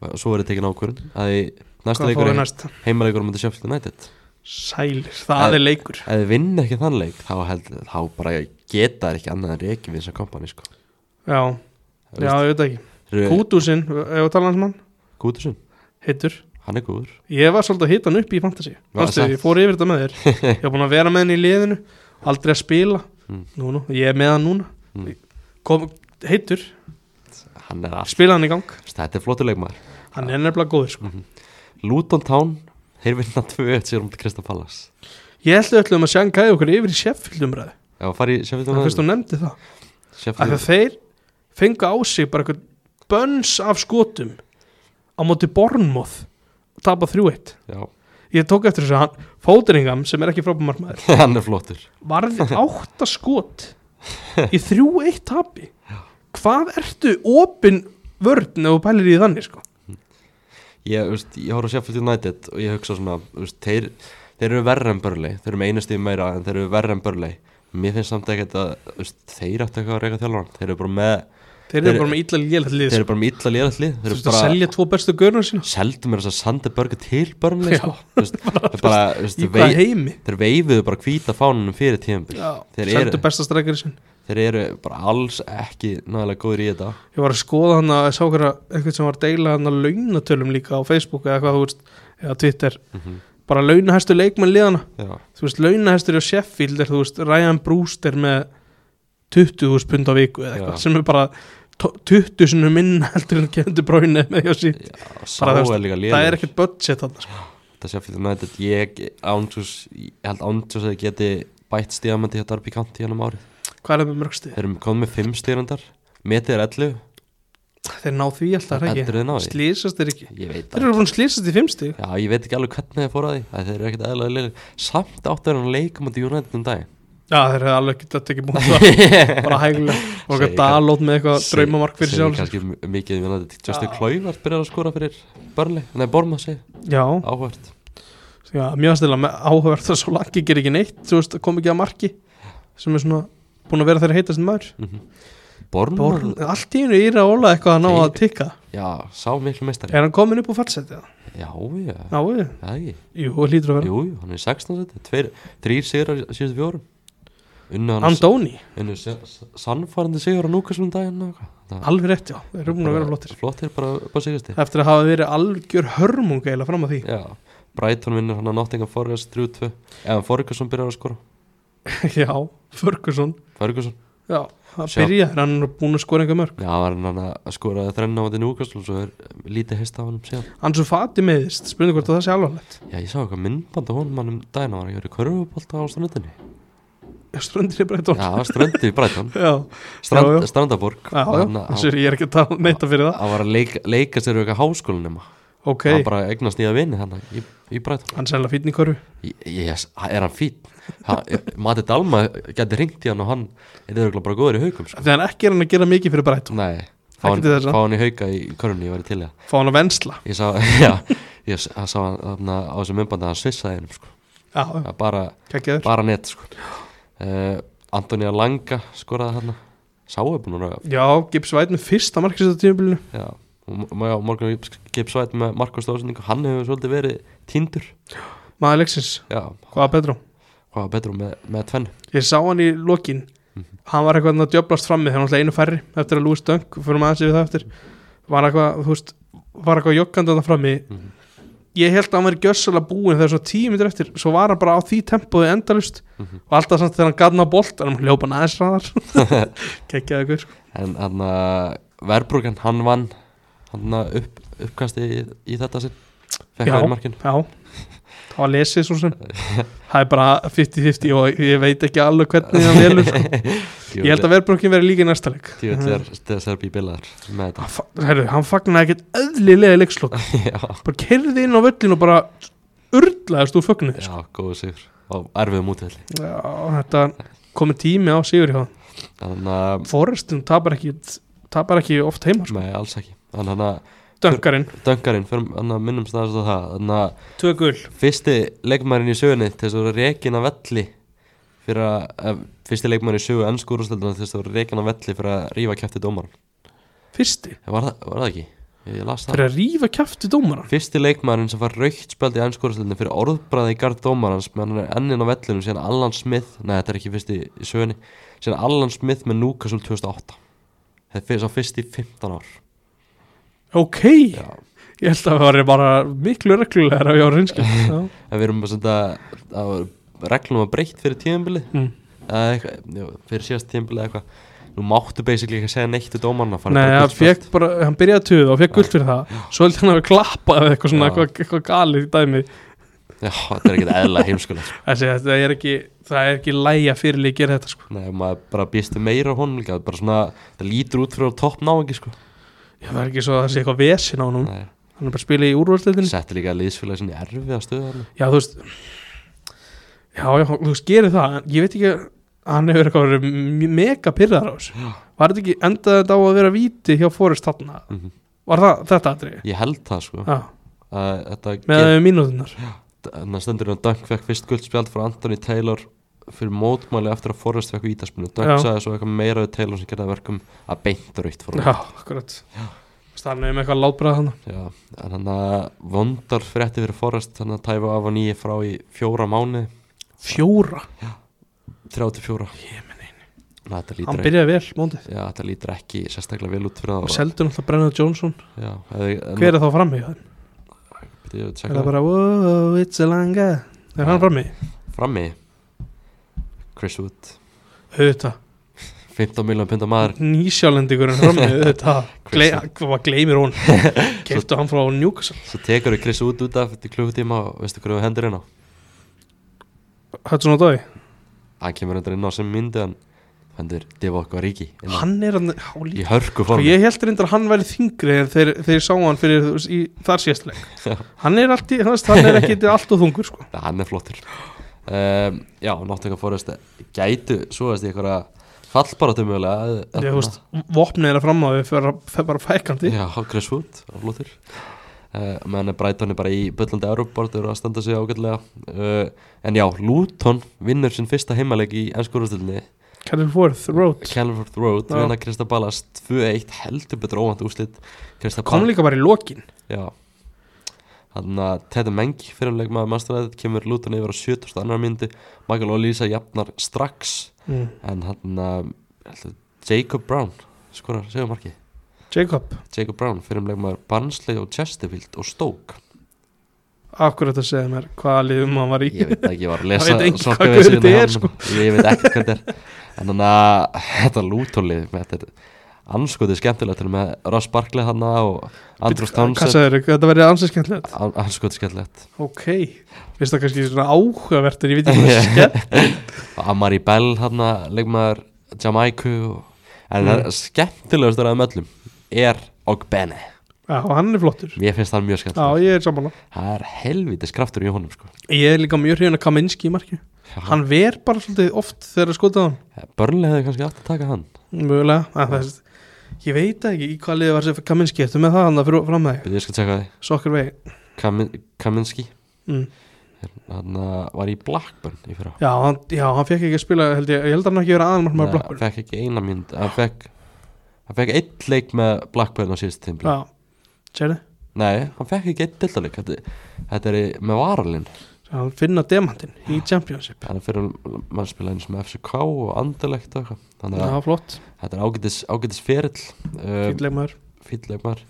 Speaker 1: og svo verið tekin ákvörðin. Það er næsta
Speaker 2: Hvað
Speaker 1: leikur
Speaker 2: fáum við
Speaker 1: er
Speaker 2: næst?
Speaker 1: heimaleikur um þetta sjöfnstu nættið.
Speaker 2: sælir, það
Speaker 1: Eh,
Speaker 2: er leikur
Speaker 1: Ef þið vinn ekki þann leik, þá, held, þá bara geta þær ekki annað en reiki við þessa kompani, sko.
Speaker 2: já, já, ég veit ekki Kútusinn, ef að tala um hans mann
Speaker 1: Kútur sinn,
Speaker 2: hittur,
Speaker 1: hann er góður.
Speaker 2: ég var svolítið að hitta hann upp í fantasy, Vastu,
Speaker 1: satt.
Speaker 2: ég fór yfir þetta með
Speaker 1: [LAUGHS]
Speaker 2: þér ég var búin að vera með hann í liðinu aldrei að spila,
Speaker 1: Mm.
Speaker 2: nú, nú, ég er með hann núna
Speaker 1: Mm.
Speaker 2: kom, hittur,
Speaker 1: Hann er allt.
Speaker 2: spila hann í gang
Speaker 1: Þetta er flottur leikmaður.
Speaker 2: hann er nefnilega góður sko.
Speaker 1: Mhm. Luton Town, þeir vinna 2-1 sér um til Krista Pallas.
Speaker 2: ég ætlu öllum að sjanga okkur yfir í Sheffield umræðu
Speaker 1: Já, farið í Sheffield
Speaker 2: Það fyrst
Speaker 1: United.
Speaker 2: hún nefndi það Af því
Speaker 1: Sheffield
Speaker 2: að þeir fengu á sig bara eitthvað bönns af skotum á móti Bornmoth og tapa 3-1
Speaker 1: Já,
Speaker 2: Ég tók eftir þessu að hann Fóteringam sem er ekki frábæmarmaður
Speaker 1: [LAUGHS] hann er flottur.
Speaker 2: varði átta skot í 3-1 tapi Hvað ertu opin vörn ef þú pælir í þannig sko
Speaker 1: Ég, þú veist, ég horf á Sheffield United og ég hugsa svona, þú veist, þeir, þeir eru verra en börlei, þeir eru með einu stíð meira en þeir eru verra en börlei. Mér finnst samt ekkert að, þú veist, þeir áttu eitthvað að reyka þjálfan, þeir eru bara með,
Speaker 2: Þeir eru
Speaker 1: Þeir-
Speaker 2: bara með illa lélætt lið
Speaker 1: þeir
Speaker 2: sko.
Speaker 1: eru bara með illa liðalli, þeir
Speaker 2: Þú
Speaker 1: eru
Speaker 2: veist að
Speaker 1: bara,
Speaker 2: selja tvo bestu görnum sína
Speaker 1: seldu mér þess að sandi börgu til börnlei, sko, þú
Speaker 2: [LAUGHS]
Speaker 1: veist, það er bara, þú veist,
Speaker 2: Í
Speaker 1: vei,
Speaker 2: hvað heimi
Speaker 1: þeir veifuðu bara hvíta fánunum fyrir tíðanbíl, þeir
Speaker 2: Seldu
Speaker 1: eru,
Speaker 2: besta strekkari sín
Speaker 1: þeir eru bara alls ekki náðilega góður í þetta.
Speaker 2: ég var að skoða hann að ég sá hverja eitthvað sem var að deila hann að launatölum líka á Facebook eða hvað þú veist, eða Twitter
Speaker 1: Mhm.
Speaker 2: bara launahæstu leikmenn liðana
Speaker 1: Já,
Speaker 2: þú veist, launahæstur á Sheffield er þú veist, Ryan Brewster með 20.000 pund á viku eða eitthvað
Speaker 1: Já.
Speaker 2: sem er bara to- 20 sinni minna [LAUGHS] heldur en kefndi bráinu með hjá sín,
Speaker 1: sá
Speaker 2: Bara, þú veist,
Speaker 1: er líka liðalli.
Speaker 2: það er ekkert budget þarna sko.
Speaker 1: þetta Sheffield United ég ántjús, ég held ántjús að ég geti bætt stíðamöndi hjá Darby County hann um árið,
Speaker 2: hvað er það með mörgstið?
Speaker 1: þeir eru komið með 5 stíðarendar metið er 11,
Speaker 2: Þeir ná því alltaf, er
Speaker 1: Heldur
Speaker 2: ekki?
Speaker 1: þeir ná því?
Speaker 2: Slýsast þeir ekki
Speaker 1: ég veit
Speaker 2: Þeir
Speaker 1: það
Speaker 2: eru búin að slýsast í fimmstig
Speaker 1: já, ég veit ekki alveg hvernig þeir fór að því að þeir eru ekkert eðlaði leilir, samt áttu þeir hann leikum á United um
Speaker 2: [LAUGHS]
Speaker 1: dag
Speaker 2: Já, þeir hefði alveg ekki þetta ekki búin
Speaker 1: [LAUGHS]
Speaker 2: það bara hægulega og
Speaker 1: Segir
Speaker 2: eitthvað dalót með eitthvað draumamark fyrir sjálf
Speaker 1: kannski m- mikið um United, Justin
Speaker 2: Já.
Speaker 1: Kluivert byrjar að skora fyrir Burnley, nei Borma segi,
Speaker 2: Já,
Speaker 1: áhvert
Speaker 2: já mjög stila áhugavert að svo langi gerir ekki neitt þú veist, kom ekki að marki sem er svona búin að vera þeirra heitast maður
Speaker 1: Borma,
Speaker 2: Born, allt í einu íra óla eitthvað að ná að tikka
Speaker 1: já, sá miklu meistari
Speaker 2: er hann komin upp úr fallseti það?
Speaker 1: já, já,
Speaker 2: Já, ég.
Speaker 1: já, já
Speaker 2: jú, hann hlýtur að vera
Speaker 1: Jú, jú, hann er í 16 seti, tveir, þrýr sigrar í síðustu fjórum Unnu hann
Speaker 2: Andóni,
Speaker 1: unnu se- sannfærandi sigur á Núkasum daginn og eitthvað Það-
Speaker 2: alveg rétt já þeir eru búin að vera flottir
Speaker 1: Flottir, bara, bara sigursti
Speaker 2: eftir að hafa verið algjör hörmung eiginlega fram
Speaker 1: [LAUGHS]
Speaker 2: að því
Speaker 1: Já, Brighton vinnur hann að Nottingham Forest 3-2 Eða Ferguson byrjar að skora
Speaker 2: já, Ferguson
Speaker 1: Ferguson,
Speaker 2: já, það
Speaker 1: Sjá.
Speaker 2: byrja hann er búin að skora einhver mörg
Speaker 1: já, var hann að skora þrenna á þetta Núkasum Svo er lítið hist af hann síðan
Speaker 2: hann svo fati meðist, spurning hvort að það sé alvarlegt
Speaker 1: Já, ég sá eitthvað myndband á honum hann um daginn hann Var að gera körfubólta á strandinni
Speaker 2: ströndir í breytón
Speaker 1: Já, strandi í Brighton
Speaker 2: [LAUGHS] já,
Speaker 1: Strand,
Speaker 2: Já, já.
Speaker 1: Strandaborg
Speaker 2: já, já,
Speaker 1: Hann að-
Speaker 2: þessu ég er ekki að tala neita fyrir það
Speaker 1: hann var að leika, leika sér við eitthvað háskólanema
Speaker 2: ok,
Speaker 1: hann bara eignast nýja vini þannig í, í Brighton
Speaker 2: hann sælna fítni hverju
Speaker 1: Ég- ég- yes, ha- er hann fín ha, Mati Dalma geti ringt í hann og hann er örugglega bara góður í haukum sko.
Speaker 2: þannig að ekki er hann að gera mikið fyrir breytón
Speaker 1: nei, fá hann,
Speaker 2: Ekki til þess að-
Speaker 1: fá hann í hauka í körunni, ég væri til í það
Speaker 2: fá hann að vensla
Speaker 1: ég sá, [LAUGHS] já, ég s- hann sá hann þarna á þessu myndbandi að hann svissaði hennum sko.
Speaker 2: já,
Speaker 1: Það er bara,
Speaker 2: kekkjaður
Speaker 1: bara net sko. uh, Antonija Langa skoraði hann sáu búin að
Speaker 2: já, Gibbs White með fyrsta markistöðu tímubilinu
Speaker 1: já, og m- já, Morgan Gibbs White með Marko Stóðsendingu, hann hefur svolítið verið tindur,
Speaker 2: maður leiksins,
Speaker 1: já,
Speaker 2: hvaða Pedro
Speaker 1: hvað var betur með, með tvenn
Speaker 2: ég sá hann í lokin
Speaker 1: Mhm.
Speaker 2: hann var eitthvað að djöblast frammi þegar hann alltaf einu færri eftir að Lewis Dunk fyrir maður sér við það eftir var eitthvað, þú veist, var eitthvað joggandi þarna frammi
Speaker 1: Mhm.
Speaker 2: ég held að hann væri gjössalega búin þegar svona tíu mitur eftir svo var hann bara á því tempóði endalust
Speaker 1: Mhm.
Speaker 2: og alltaf samt þegar hann gadna á bolt en hann hljópa næðis ræðar
Speaker 1: [LAUGHS]
Speaker 2: kekkjaði ykkur sko.
Speaker 1: En hann Verbruggan, hann vann hann upp, uppkasti í, í þetta sinn Fekk
Speaker 2: Já.
Speaker 1: það í markinu
Speaker 2: já, það var lesið svo sem það er bara 50-50 og ég veit ekki alveg hvernig hann velur sko.
Speaker 1: [LAUGHS]
Speaker 2: ég held að verðbrukkin verði líka í næsta leik
Speaker 1: Djúvill er Serbi bilaðar með þetta
Speaker 2: [LAUGHS] Hann fa- Herru, hann fagnaði ekkert öðlilega í leikslokk
Speaker 1: Já,
Speaker 2: bara kerði inn á völlin og bara urlaðist úr fögnuði
Speaker 1: [LAUGHS]
Speaker 2: sko.
Speaker 1: já góðu sigur og erfiðum útvelli
Speaker 2: já, þetta komið tími á sigur hjá hann.
Speaker 1: Þannig að,
Speaker 2: Forrestin tapar ekki tapar ekki oft heima sko.
Speaker 1: nei, alls ekki Þannig að
Speaker 2: döngarinn,
Speaker 1: döngarinn, þannig að minnum staðast á það Þannig að
Speaker 2: tvö gull
Speaker 1: fyrsti leikmærin í sögunni til þess að vera reikin af velli fyrir að, að fyrsti leikmærin í sögu ennsku úrstölduna til þess að vera reikin af velli fyrir að rífa kæfti dómaran
Speaker 2: fyrsti,
Speaker 1: var, það- var það ekki? Ég las það
Speaker 2: fyrir að rífa kjafti dómaran
Speaker 1: Fyrsti leikmærin sem fær raukt spjaldi í ennsku úrstölduna fyrir orðbræði í garð dómarans meðan hann er ennin á vellinum síðan Allan Smith nei þetta er ekki fyrsti í sögunni síðan Allan Smith með Newcastle 2008 þetta er sá fyrst í 15 ár
Speaker 2: ok,
Speaker 1: Já.
Speaker 2: ég held að það var bara miklu reglulegar af ég á reynskil já,
Speaker 1: en við erum [LAUGHS] bara svona að reglum var breytt fyrir tíðanbili
Speaker 2: Mm.
Speaker 1: fyrir síðast tíðanbili eða eitthvað nú máttu basically ekki að segja neitt til dómarna
Speaker 2: nei, hann fekk bara, hann byrjaði að tuða og fekk gull fyrir það, svo held hann að við klappa eða eitthvað svona,
Speaker 1: Já.
Speaker 2: eitthvað, eitthvað galið í dæmi
Speaker 1: já, þetta er ekkert eðla heimskulegt sko.
Speaker 2: þessi, þetta er ekki, það er ekki lægja fyrirlið gera þetta sko,
Speaker 1: nei, maður bara býstu meira á honum líka bara svona, það lítur út fyrir á topp náingi sko.
Speaker 2: já, það er ekki svo að það sé eitthvað vesin á hann,
Speaker 1: Nei,
Speaker 2: hann er bara að spila í úrvarsleitinni
Speaker 1: setti líka liðsfélag sinni erfiða stöðu þarna.
Speaker 2: Já, þú veist Já, já, þú veist, gerir það en Ég veit ekki, hann hefur eitthvað verið m- mega pyrraðar á þessu Var þetta ekki endaði þetta á að vera víti hjá Forrest þarna?
Speaker 1: Mhm.
Speaker 2: Var það þetta atriði?
Speaker 1: ég held það sko.
Speaker 2: Já,
Speaker 1: að þetta
Speaker 2: með yeah. mínútunar
Speaker 1: þannig að stendur hann að Dunk fekk fyrst guldspjald frá Anthony Taylor fyrir mótmæli eftir að Forrest fekk vítaspinu Dunk
Speaker 2: Já.
Speaker 1: sagði svo eitthvað meira við Taylor sem gerði að verkum að beint raukt fór
Speaker 2: Já, akkurat Stannig með eitthvað látbræða hann
Speaker 1: Já, en hann að vondar frétti fyrir Forrest hann að tæfa af og nýja frá í fjóra mánu
Speaker 2: Fjóra,
Speaker 1: 34 Ég menn einu
Speaker 2: hann
Speaker 1: Hann byrja
Speaker 2: byrjaði vel móndið
Speaker 1: Já, þetta lítur ekki sérstaklega vel út fyrir það
Speaker 2: og seldu náttúrulega Brennan Johnson
Speaker 1: Já, eða,
Speaker 2: Hver er þá frammi? hjá þeim?
Speaker 1: Byrja,
Speaker 2: Er það bara, wow, it's a langa Er hann frammi?
Speaker 1: Frammi Chris Wood
Speaker 2: Auðvitað
Speaker 1: 15 miljón pundar maður
Speaker 2: Nýsjálendingurinn
Speaker 1: [LAUGHS]
Speaker 2: frammi, auðvitað Glei, Hvað gleymir hún? Keiftu hann frá Newcastle
Speaker 1: Svo tekur við Chris Wood út af þetta klukkutíma og veistu hverju við hendur inn á
Speaker 2: Hudson Odoi
Speaker 1: Hann kemur hendur inn á sem myndi hann hendur Divock og Ríki
Speaker 2: Hann er hann á
Speaker 1: Í
Speaker 2: líka
Speaker 1: hörku
Speaker 2: Sko
Speaker 1: formi
Speaker 2: ég held reyndar að hann væri þingri en þeir, þeir sá hann fyrir þú veist, í, þar síðast leik
Speaker 1: Já.
Speaker 2: Hann er, allt, í- þú veist, hann er
Speaker 1: [LAUGHS]
Speaker 2: ekki allt og þungur sko.
Speaker 1: Það hann er flottur um, Já, Nottingham Forest gætu svo veist ég einhverja fallbaratu mögulega eh,
Speaker 2: Ég,
Speaker 1: þarna.
Speaker 2: þú veist, Vopnið er að fram á því fyrir að fer bara fækandi
Speaker 1: Já, Chris Wood, það er flottur uh, menn er Brighton er bara í byllandi Európa, það eru að standa sig ágætlega uh, en já, Luton vinnur sinn fyrsta heimaleik í ennskórastöldinni
Speaker 2: Califorth, Road
Speaker 1: Calvert Road,
Speaker 2: Já.
Speaker 1: vinna Krista Ballas 2-1, heldur betur óvænt úslit Krista
Speaker 2: Kom líka bara í lokin
Speaker 1: Já Þannig að Ted Meng fyrirleik maður mannstæðið kemur Luton yfir á 70. annar myndi Michael Olísa jafnar strax
Speaker 2: mm.
Speaker 1: en hann uh, Jacob Brown skorar segumarki
Speaker 2: Jacob,
Speaker 1: Jacob Brown fyrir um leikmaður Barnsley og Chesterfield og Stoke
Speaker 2: akkurat að segja mér hvaða liðum hann var í
Speaker 1: ég veit ekki, ég var að
Speaker 2: Það
Speaker 1: lesa
Speaker 2: veit enginn
Speaker 1: sokka
Speaker 2: hvað
Speaker 1: við
Speaker 2: gaur þetta
Speaker 1: síðan
Speaker 2: er, sko.
Speaker 1: hann. ég veit ekki hvað þetta er en þannig að þetta lútólið þetta er anskotið skemmtilegt til og með Ross Barkley hann og Andrew Townsend
Speaker 2: Kassaður, þetta verið ansið skemmtilegt
Speaker 1: An- anskotið skemmtilegt
Speaker 2: Ok, finnst það kannski svona áhugavert en ég veit ekki
Speaker 1: [LAUGHS]
Speaker 2: hvað það skemmt
Speaker 1: og Amari Bell hann leikmaður Jamaiku og... en það
Speaker 2: Mm.
Speaker 1: skemmtilegast er að möllum er Ogbene
Speaker 2: Já, hann er flottur
Speaker 1: mér finnst hann mjög
Speaker 2: Já,
Speaker 1: skemmtilegt
Speaker 2: ég er sammála
Speaker 1: það er helvitis kraftur í honum sko.
Speaker 2: Ég er líka mjög hrifin að Kaminski í marki Hann ver bara svolítið oft þegar að skota á hann
Speaker 1: Börnlega Eh, hefði kannski átt að taka hann
Speaker 2: Mögulega að það, er- Ég veit það ekki í hvað liðið var sem Kaminski Þetta með það hann að fyrir fram það
Speaker 1: Byrðu, ég skal tjekka því
Speaker 2: Sokkur vegi
Speaker 1: Kamin, Kaminski
Speaker 2: mm.
Speaker 1: hann uh, var í Blackburn í fyrra
Speaker 2: já, hann, já, hann fekk ekki að spila held ég, ég held að hann hafi ekki verið aðan
Speaker 1: Nei,
Speaker 2: með
Speaker 1: hann
Speaker 2: blokkur
Speaker 1: fekk ekki eina mynd hann fekk, hann fekk eitt leik með Blackburn á síðustu tímpli
Speaker 2: Já, sérðu
Speaker 1: nei, hann fekk ekki eitt dildaleik þetta, þetta er í- með varalinn
Speaker 2: að finna demantinn í championship
Speaker 1: Þannig fyrir mann spila eins með FCK og andalegt og eitthvað Þannig
Speaker 2: það
Speaker 1: að
Speaker 2: var flott,
Speaker 1: þetta er ágætis, ágætis ferill um,
Speaker 2: fýtleg maður
Speaker 1: Fýtleg maður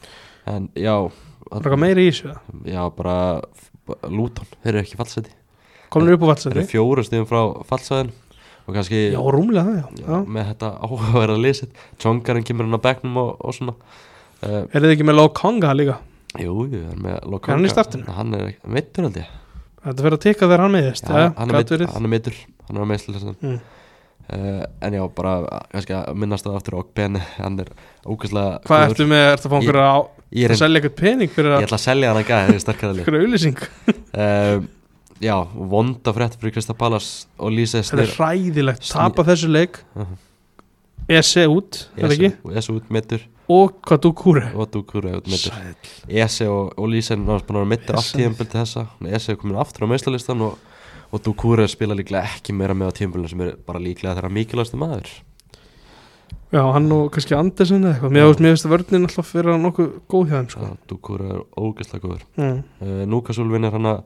Speaker 1: En já
Speaker 2: var eitthvað meira í þessu það
Speaker 1: Já, bara f- Luton, þeir eru ekki fallseti
Speaker 2: komnir upp á
Speaker 1: Þeir eru
Speaker 2: vatsandi,
Speaker 1: fjóru stíðum frá fallsæðin Og kannski
Speaker 2: já rúmlega það, já,
Speaker 1: já,
Speaker 2: já.
Speaker 1: með þetta áhugaverða liðsitt Tjongarinn kemur hann á bekknum og, og svona uh,
Speaker 2: er þið ekki með Lokonga líka
Speaker 1: Jú, jú, hann er með Lokonga
Speaker 2: Er hann í startinu?
Speaker 1: Hann er ekki- meiddur held ég
Speaker 2: þetta fyrir að tikka þegar hann meðist
Speaker 1: Já, hann, er
Speaker 2: gat
Speaker 1: meiddur,
Speaker 2: verið
Speaker 1: hann er meiddur Hann er á meðslu
Speaker 2: Mm.
Speaker 1: Uh, en já, bara að- kannski að minnast það aftur og Ben, hann er ógæslega
Speaker 2: hvað ertu með, ertu að fá einhverja á
Speaker 1: Ég, er
Speaker 2: að
Speaker 1: ein-
Speaker 2: selja eitthvað pening fyrir
Speaker 1: ég
Speaker 2: að
Speaker 1: ætla að selja hann að gæða, það er sterkara lið
Speaker 2: einhverja auðlýsing,
Speaker 1: um, Já, vonda frétt fyrir Krista Pallas og Lise
Speaker 2: þetta er
Speaker 1: Snir
Speaker 2: hræðilegt
Speaker 1: Snýr-
Speaker 2: tapa þessu leik
Speaker 1: Mhm.
Speaker 2: ESE út, er það ekki
Speaker 1: Ese út meittur
Speaker 2: og hvað þú kúri
Speaker 1: og Dukura út meittur
Speaker 2: Sæll.
Speaker 1: Ese og, og Lise er náttúrulega búin að vera meittur allt
Speaker 2: Ese.
Speaker 1: tíðanböld til þessa Ese er komin aftur á meðslalistan og, og Dukura spila líklega ekki meira með á tíðanböldin sem er bara líklega þeirra mikilvægstu maður
Speaker 2: já, hann og kannski Andersen eða eitthvað mér
Speaker 1: Já.
Speaker 2: veist, mér veist að vörninn alltaf fyrir að nokkuð góð hjá þeim sko.
Speaker 1: Dukura er ógæslega góður
Speaker 2: mm.
Speaker 1: uh, Núkasúl vinnir hann að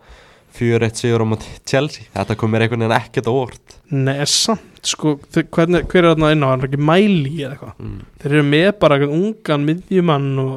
Speaker 1: 4-1 sigur á móti Chelsea Þetta kom mér einhvern veginn ekkert á óvart
Speaker 2: nei, er samt, sko þau- hvernig, hver er þarna inn á, hann er ekki mæli eða eitthvað
Speaker 1: mm.
Speaker 2: þeir eru með bara einhvern ungan miðjumann og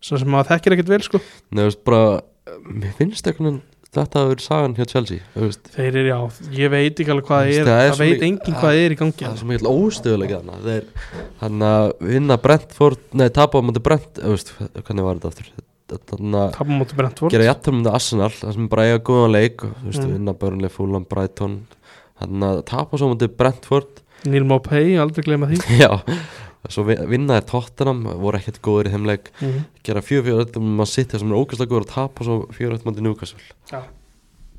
Speaker 2: svona sem maður þekkir ekkert vel sko
Speaker 1: Nei, þú veist, bara uh, Mér finnst einhvern veginn Þetta hafa verið sagan hjá Chelsea Þú veist
Speaker 2: þeir eru, já, ég veit ekki alveg hvað það er
Speaker 1: Það er
Speaker 2: það
Speaker 1: svo
Speaker 2: veit
Speaker 1: mikið-
Speaker 2: enginn hvað það er í gangi
Speaker 1: Það er svo mikill óstöðulega þarna Þeir hann að vinna Brentford Nei, tapa á móti Brent Þú veist, hvernig var þetta aftur Þannig að
Speaker 2: tapum mútið Brentford
Speaker 1: gera jættur með Arsenal Það sem bara eiga góðan leik og, Þú veist,
Speaker 2: Mm.
Speaker 1: vinna Burnley, Fulham, Brighton Þannig að tapa svo á móti Brentford [LAUGHS]
Speaker 2: Neil Maupay, aldrei gleyma því
Speaker 1: Já Svo vi- vinna þér Tottenham Voru ekkert góður í þeim leik
Speaker 2: Mhm.
Speaker 1: gera fjögur fjögur þetta um að sitja sem er ógæslega góður að tapa og svo fjögur þetta mátti njúkasvel
Speaker 2: Já.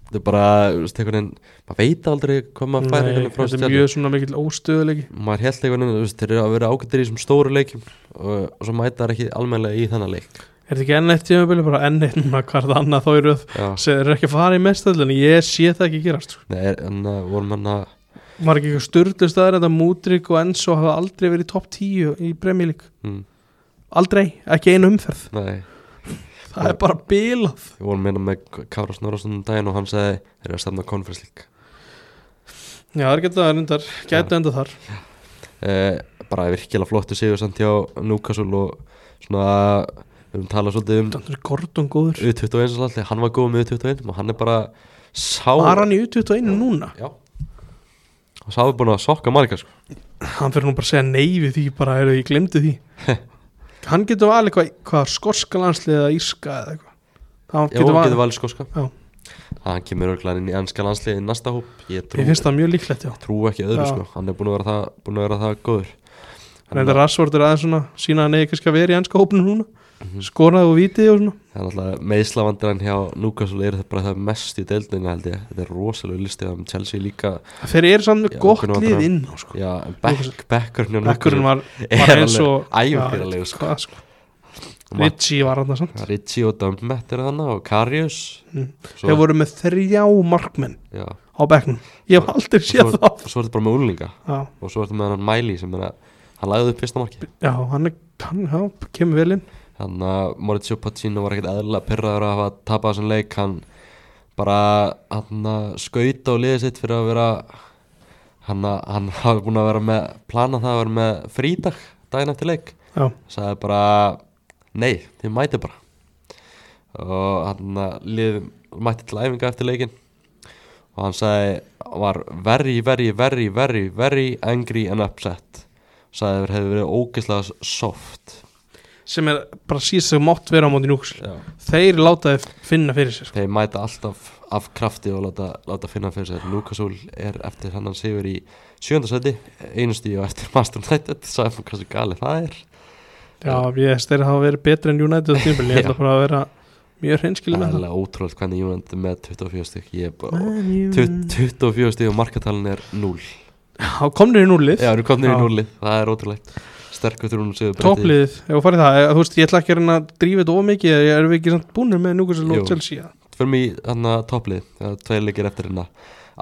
Speaker 1: þetta er bara, þú veist, einhvern veginn maður veit aldrei hvað maður fær
Speaker 2: Nei,
Speaker 1: einhvern veginn frá
Speaker 2: þetta er
Speaker 1: stjálf
Speaker 2: mjög svona mikill óstöðuleiki
Speaker 1: maður held einhvern veginn, þú veist, þeir eru að vera ágættir í þessum stóru leikjum og, og svo mæta þær ekki almennilega í þennan leik
Speaker 2: er þetta ekki enn eitt tímabili, bara enn eitt núna hvað er það annað þá eru það
Speaker 1: Já,
Speaker 2: sem eru ekki að fara í mestöldinni, ég sé það ekki gerast sko.
Speaker 1: Nei, er- en uh, vorum hann að
Speaker 2: var ekki eitthvað styrlu staðar þetta Múdrik og Enzo hafa aldrei verið í topp 10 í Premier League,
Speaker 1: mm,
Speaker 2: aldrei ekki einu umferð,
Speaker 1: nei,
Speaker 2: það er bara bilað
Speaker 1: við vorum minna með Kára Snorarsson um daginn og hann segi þeir eru að stefna konferens lík
Speaker 2: já, það er getað að reyndar, gætu enda þar
Speaker 1: uh, bara virkilega flottu sigur samt hjá Núkasvel og svona, við höfum talað svolítið um
Speaker 2: þannig er Gordon góður,
Speaker 1: U21 og alltaf, hann var góð með U21 og hann er bara sá
Speaker 2: var hann í U21 núna
Speaker 1: Já og sá er búin að sokka marga sko
Speaker 2: hann fyrir nú bara að segja nei við því bara er ég glemdi
Speaker 1: [LAUGHS]
Speaker 2: því hann getur valið hvað, hvað skorska landslið eða írska eða eitthvað
Speaker 1: Já,
Speaker 2: hann getur
Speaker 1: hann
Speaker 2: valið,
Speaker 1: getur valið skoska
Speaker 2: Já.
Speaker 1: Hann kemur örglega inn í ennska landsliði í næsta hóp Ég trú,
Speaker 2: ég finnst það mjög líklegt já
Speaker 1: trú ekki öðru
Speaker 2: Já.
Speaker 1: sko Hann er búin að vera það, búin að vera það góður Hann
Speaker 2: reyndar Rassvort er aðeins svona sína hann eigi kannski að vera í ennska hópnum núna
Speaker 1: Mhm.
Speaker 2: skoraði og vitið og svona
Speaker 1: Það er alltaf meðslavandirinn hjá Núkasul er það bara það mest í deildinu held ég Þetta er rosalega listið um Chelsea líka
Speaker 2: þeir eru samt með
Speaker 1: Já,
Speaker 2: gott
Speaker 1: hvernig var
Speaker 2: lið
Speaker 1: það?
Speaker 2: inn á sko
Speaker 1: Já, en back, backurinn hjá Núkasul
Speaker 2: Bekkurinn var, var eins og
Speaker 1: Æfingiralegu
Speaker 2: Já,
Speaker 1: sko
Speaker 2: hvað, sko. Ritchie var hann samt
Speaker 1: Ritchie og Dumbmet er þannig og Karius
Speaker 2: Mm.
Speaker 1: Svo-
Speaker 2: þeir voru með þrjá markmenn
Speaker 1: Já
Speaker 2: [LAUGHS] á bekknum ég hef aldrei séð
Speaker 1: svo,
Speaker 2: það
Speaker 1: svo er þetta bara með úlinga
Speaker 2: já,
Speaker 1: og svo er þetta með hann Miley sem er að hann lagði upp fyrsta marki
Speaker 2: já, hann, er, hann já, kemur vel inn
Speaker 1: þannig að Maurizio Pacino var ekkert eðlilega pyrraður að hafa tapað þessum leik hann bara hann skauta á liðið sitt fyrir að vera hann, að- hann hafi búin að vera með plana það að vera með frídag daginn eftir leik
Speaker 2: já,
Speaker 1: sagði bara nei, þið mæti bara og hann að liðið mætti til æfinga eftir leikin og hann sagði var very, very, very, very, very angry and upset sagði að þeir hefði verið ógeðslega soft
Speaker 2: sem er bara síðast sem mátt vera á móti núksl
Speaker 1: Já.
Speaker 2: þeir látaði finna fyrir sér sko.
Speaker 1: þeir mæta alltaf af krafti og láta, láta finna fyrir sér Lukasúl er eftir hennan sigur í sjöndasæti einu stíu eftir Master United sagði hann hversu gali það er
Speaker 2: já, ég veist, þeir hafa verið betri en United á tímpil, ég ætla
Speaker 1: Já.
Speaker 2: bara að vera mjög hreinskilin
Speaker 1: það er
Speaker 2: með
Speaker 1: alveg ótrúlega hvernig Júnand með 24 stík ég er bara
Speaker 2: það
Speaker 1: 24 stíð og markatalin er 0
Speaker 2: þá komnir í núlið
Speaker 1: Já, nú kom þér í
Speaker 2: Já.
Speaker 1: 0 Það er ótrúlegt Sterkur þrún og sigur
Speaker 2: topplið, ef þú farið það eh, þú veist, ég ætla ekki að reyna að drífa þetta ómikið erum við ekki samt búnir með núkvæmst
Speaker 1: Jú.
Speaker 2: og Chelsea
Speaker 1: Förum í hann að topplið Það er tveir leikir eftir hérna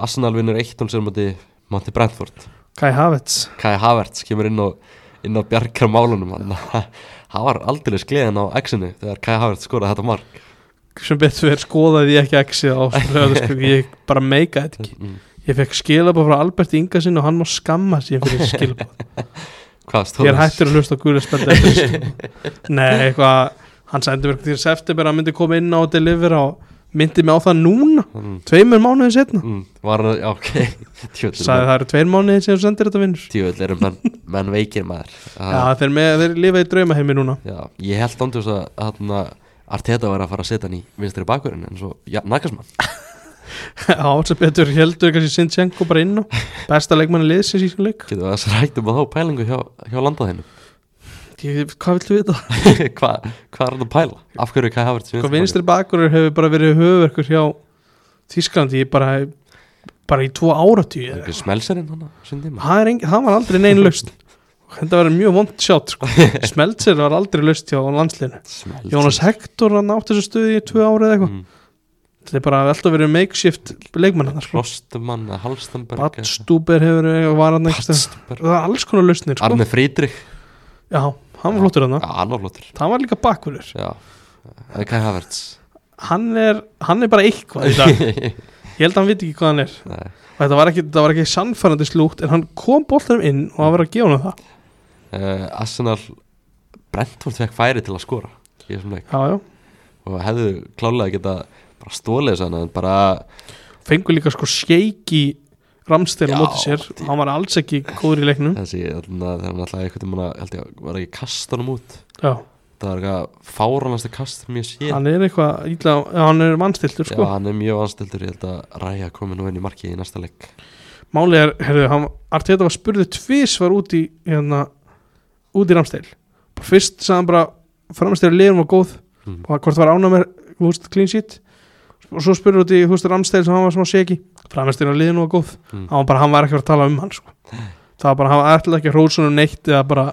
Speaker 1: Arsenal vinnur 1-0 sér mátti Mátti Brentford
Speaker 2: Kai Havertz,
Speaker 1: Kai Havertz kemur inn og inn á bjargar [LAUGHS] málunum hann hann var aldrei skliðin á exinu þegar Kai Havertz skoraði þetta mark
Speaker 2: sem betur fyrir skoðaði ég ekki exið á lögðarskjöld ég bara meika þetta ekki
Speaker 1: Mm.
Speaker 2: ég fekk skilabóð frá Albert Inga sinni og hann má skamma sér fyrir skilabóð
Speaker 1: Hvað
Speaker 2: ég
Speaker 1: stóðist?
Speaker 2: er hættur að hlusta á guðlega spölda sko. nei, eitthvað hann sendi mér til september að hann myndi koma inn á og delivera og myndi mig á það núna
Speaker 1: Mm,
Speaker 2: tveimur mánuðin setna
Speaker 1: mm, var hann, já, ok [LAUGHS] Tjóðil,
Speaker 2: sagði það eru tveir mánuðin sem þú sendir þetta vinnur
Speaker 1: Tjóðil eru menn, menn veikir maður
Speaker 2: já,
Speaker 1: Aha,
Speaker 2: þeir, með, þeir lifa í draumaheimi núna [LAUGHS]
Speaker 1: já. Ég held ándjós að þarna Arteta var að fara að setja hann í vinstri bakurinn en svo, já, nakasmann
Speaker 2: já, sem betur heldur kannski Sinchenko bara inn á besta leikmanni liðsins í svona leik
Speaker 1: Getum við að ræktum að þá pælingu hjá, hjá landaðinu
Speaker 2: Ég- hvað viltu við það?
Speaker 1: Hvað [LAUGHS] hva er hann að pæla? Af hverju Kai Havertz
Speaker 2: Sko vinstri bakurur hefur bara verið höfverkur hjá Þísklandi bara, bara í tvo áratíu
Speaker 1: bakurinn? Smelserinn hann á sinn tíma
Speaker 2: það, er engin- það var aldrei nein laust þetta var mjög vond sjátt
Speaker 1: [LAUGHS]
Speaker 2: sko. Smeltser var aldrei laust hjá landsliðinu
Speaker 1: Smelserinn
Speaker 2: Jónas Hector hann átti þessu stuði í tvö ára eða eitthvað
Speaker 1: Mm.
Speaker 2: þetta er bara alltaf verið makeshift leikmann hann sko.
Speaker 1: Klostumann, Halstenberg
Speaker 2: Batstúber hefur verið- var hann ekki það
Speaker 1: Batstúber
Speaker 2: var alls konar lausnir sko.
Speaker 1: Arne Frídrik
Speaker 2: já, hann var flottur hann
Speaker 1: Já, hann var flottur
Speaker 2: það var líka bakurur
Speaker 1: Já, en Kai Havertz
Speaker 2: hann er, hann er bara eitthvað í
Speaker 1: [LAUGHS]
Speaker 2: dag ég held að hann viti ekki hvað hann er
Speaker 1: Nei.
Speaker 2: Og Þetta var ekki, þetta var ekki sannfærandi slúgt en hann kom boltanum inn og hann var að gefa hann það
Speaker 1: uh, Arsenal Brentford fekk færi til að skora í þessum leik
Speaker 2: Já, já,
Speaker 1: og hefðu klálega geta bara stólið þess hana en bara
Speaker 2: fengur líka sko skeiki ramstil á
Speaker 1: Já,
Speaker 2: móti sér
Speaker 1: djú.
Speaker 2: hann var alls ekki góður í leiknum
Speaker 1: þessi þarna þegar hann alltaf einhvern tímann að- held ég að var ekki kastanum út
Speaker 2: Já,
Speaker 1: það var eitthvað fáranasta kast sem ég sé
Speaker 2: hann er eitthvað ítla, hann er mannstiltur
Speaker 1: Já,
Speaker 2: sko
Speaker 1: hann er mjög anstildur, ég held að Ræja komi nú inn í markið í næsta leik
Speaker 2: Málið er, herðu, hann, Arteta var spurði tvís var út í hérna, út í ramstil Fyrst sagði hann bara framstæður liðum var góð
Speaker 1: Mm.
Speaker 2: og hvort var ána með, þú veist, clean sheet og svo spurði út í, þú veist, ramstil sem hann var smá segi, framstæður liðum var góð
Speaker 1: mm.
Speaker 2: hann var bara, hann var ekki að fara að tala um hann sko. það var bara, hann var ætlaði ekki að hrósa honum neitt eða bara,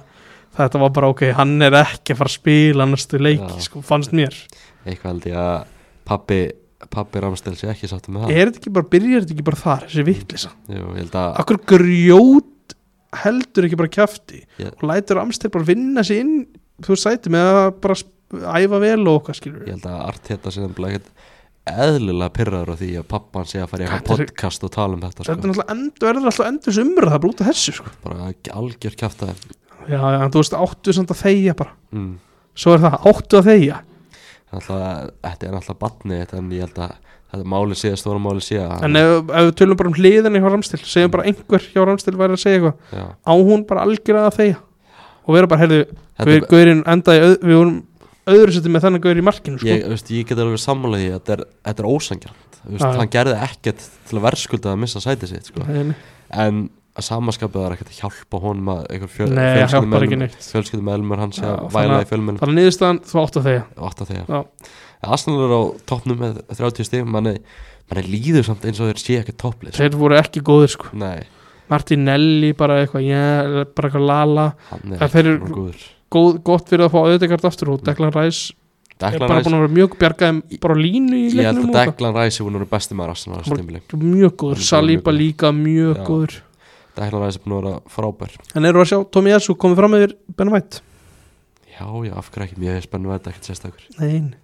Speaker 2: þetta var bara ok hann er ekki að fara að spila næstu leiki
Speaker 1: Já.
Speaker 2: sko, fannst mér,
Speaker 1: Eitthvað held ég að pappi, pappi Ramstel sé ekki sáttu með það
Speaker 2: er þetta ekki bara byrjar þetta ekki bara þar, þessi vittlisa
Speaker 1: Jú, ég held að
Speaker 2: akkur grjót heldur ekki bara kjafti
Speaker 1: Ég-
Speaker 2: og lætur Amstel bara vinna sig inn þú veist sæti með að bara sp- æfa vel og okkar skilur
Speaker 1: ég held að Arteta sé nefnilega ekkert eðlilega pyrraður á því að pappan sé að fara í eitthvað
Speaker 2: Þetta er-
Speaker 1: podcast og tala um þetta
Speaker 2: þetta er
Speaker 1: sko.
Speaker 2: náttúrulega endur, verður alltaf endur sumra það er bara út af þessu sko.
Speaker 1: bara algjör kjafta
Speaker 2: já, já, en þú veist, áttu samt að þegja bara
Speaker 1: mm.
Speaker 2: svo er það, áttu að þegja
Speaker 1: alltaf, þetta er náttúrulega batni þetta en ég held að þetta máli sé, stóra máli sé að
Speaker 2: En ef, ef við tölum bara um hliðinni hjá Ramstil segjum bara einhver hjá Ramstil væri að segja eitthvað
Speaker 1: já,
Speaker 2: á hún bara algjörlega að þegja og vera bara, heyrðu,
Speaker 1: þetta,
Speaker 2: við gaurinn endaði öð, við vorum öðru setjum með þannig gaur í markinu sko.
Speaker 1: ég, veist, ég get alveg sammála því að þetta er, þetta er ósangjant veist,
Speaker 2: Já, já.
Speaker 1: hann gerði ekkert til að verðskulda að missa sæti sitt sko.
Speaker 2: Nei, nei.
Speaker 1: en að samaskapið var ekkert að hjálpa honum að einhver fjö,
Speaker 2: Nei, hjálpar ekki
Speaker 1: fjölskyldumeðlum
Speaker 2: neitt.
Speaker 1: fjölskyldumeðlumur hans sé
Speaker 2: Já,
Speaker 1: að
Speaker 2: þannig
Speaker 1: væla
Speaker 2: að-
Speaker 1: í fjölmenn
Speaker 2: Þannig niðurstaðan, þú átt að þegja
Speaker 1: og 8 þegar
Speaker 2: Já.
Speaker 1: En Arsenal er á toppnum með 30 stig manni, manni líður samt eins og þeir sé ekki topplið
Speaker 2: Þeir voru ekki góðir sko
Speaker 1: Nei,
Speaker 2: Martinelli bara eitthvað, já, bara eitthvað lala
Speaker 1: hann er
Speaker 2: En þeir eru-
Speaker 1: ekki góður
Speaker 2: Góð, Gott fyrir að fá auðvitaðkart aftur og Declan Rice er
Speaker 1: Deklan
Speaker 2: bara
Speaker 1: Ræs,
Speaker 2: búin að vera mjög bjargaðum bara á línu í
Speaker 1: ég held
Speaker 2: leiknum
Speaker 1: að
Speaker 2: og eitthvað.
Speaker 1: Deklan Ræs er búin að vera besti maður Arsenal á þessu
Speaker 2: Bara-
Speaker 1: tímili
Speaker 2: Mjög
Speaker 1: Hann er bara
Speaker 2: góður,
Speaker 1: mjög
Speaker 2: Saliba
Speaker 1: góður.
Speaker 2: líka mjög
Speaker 1: Já.
Speaker 2: góður
Speaker 1: Deklan Ræs er búin að vera frábær
Speaker 2: En eru að sjá, Tommy Essu komið fram með þér Ben White
Speaker 1: Já, já, af hverju ekki, mjög spennu að þetta ekkert sérstakur
Speaker 2: Nein,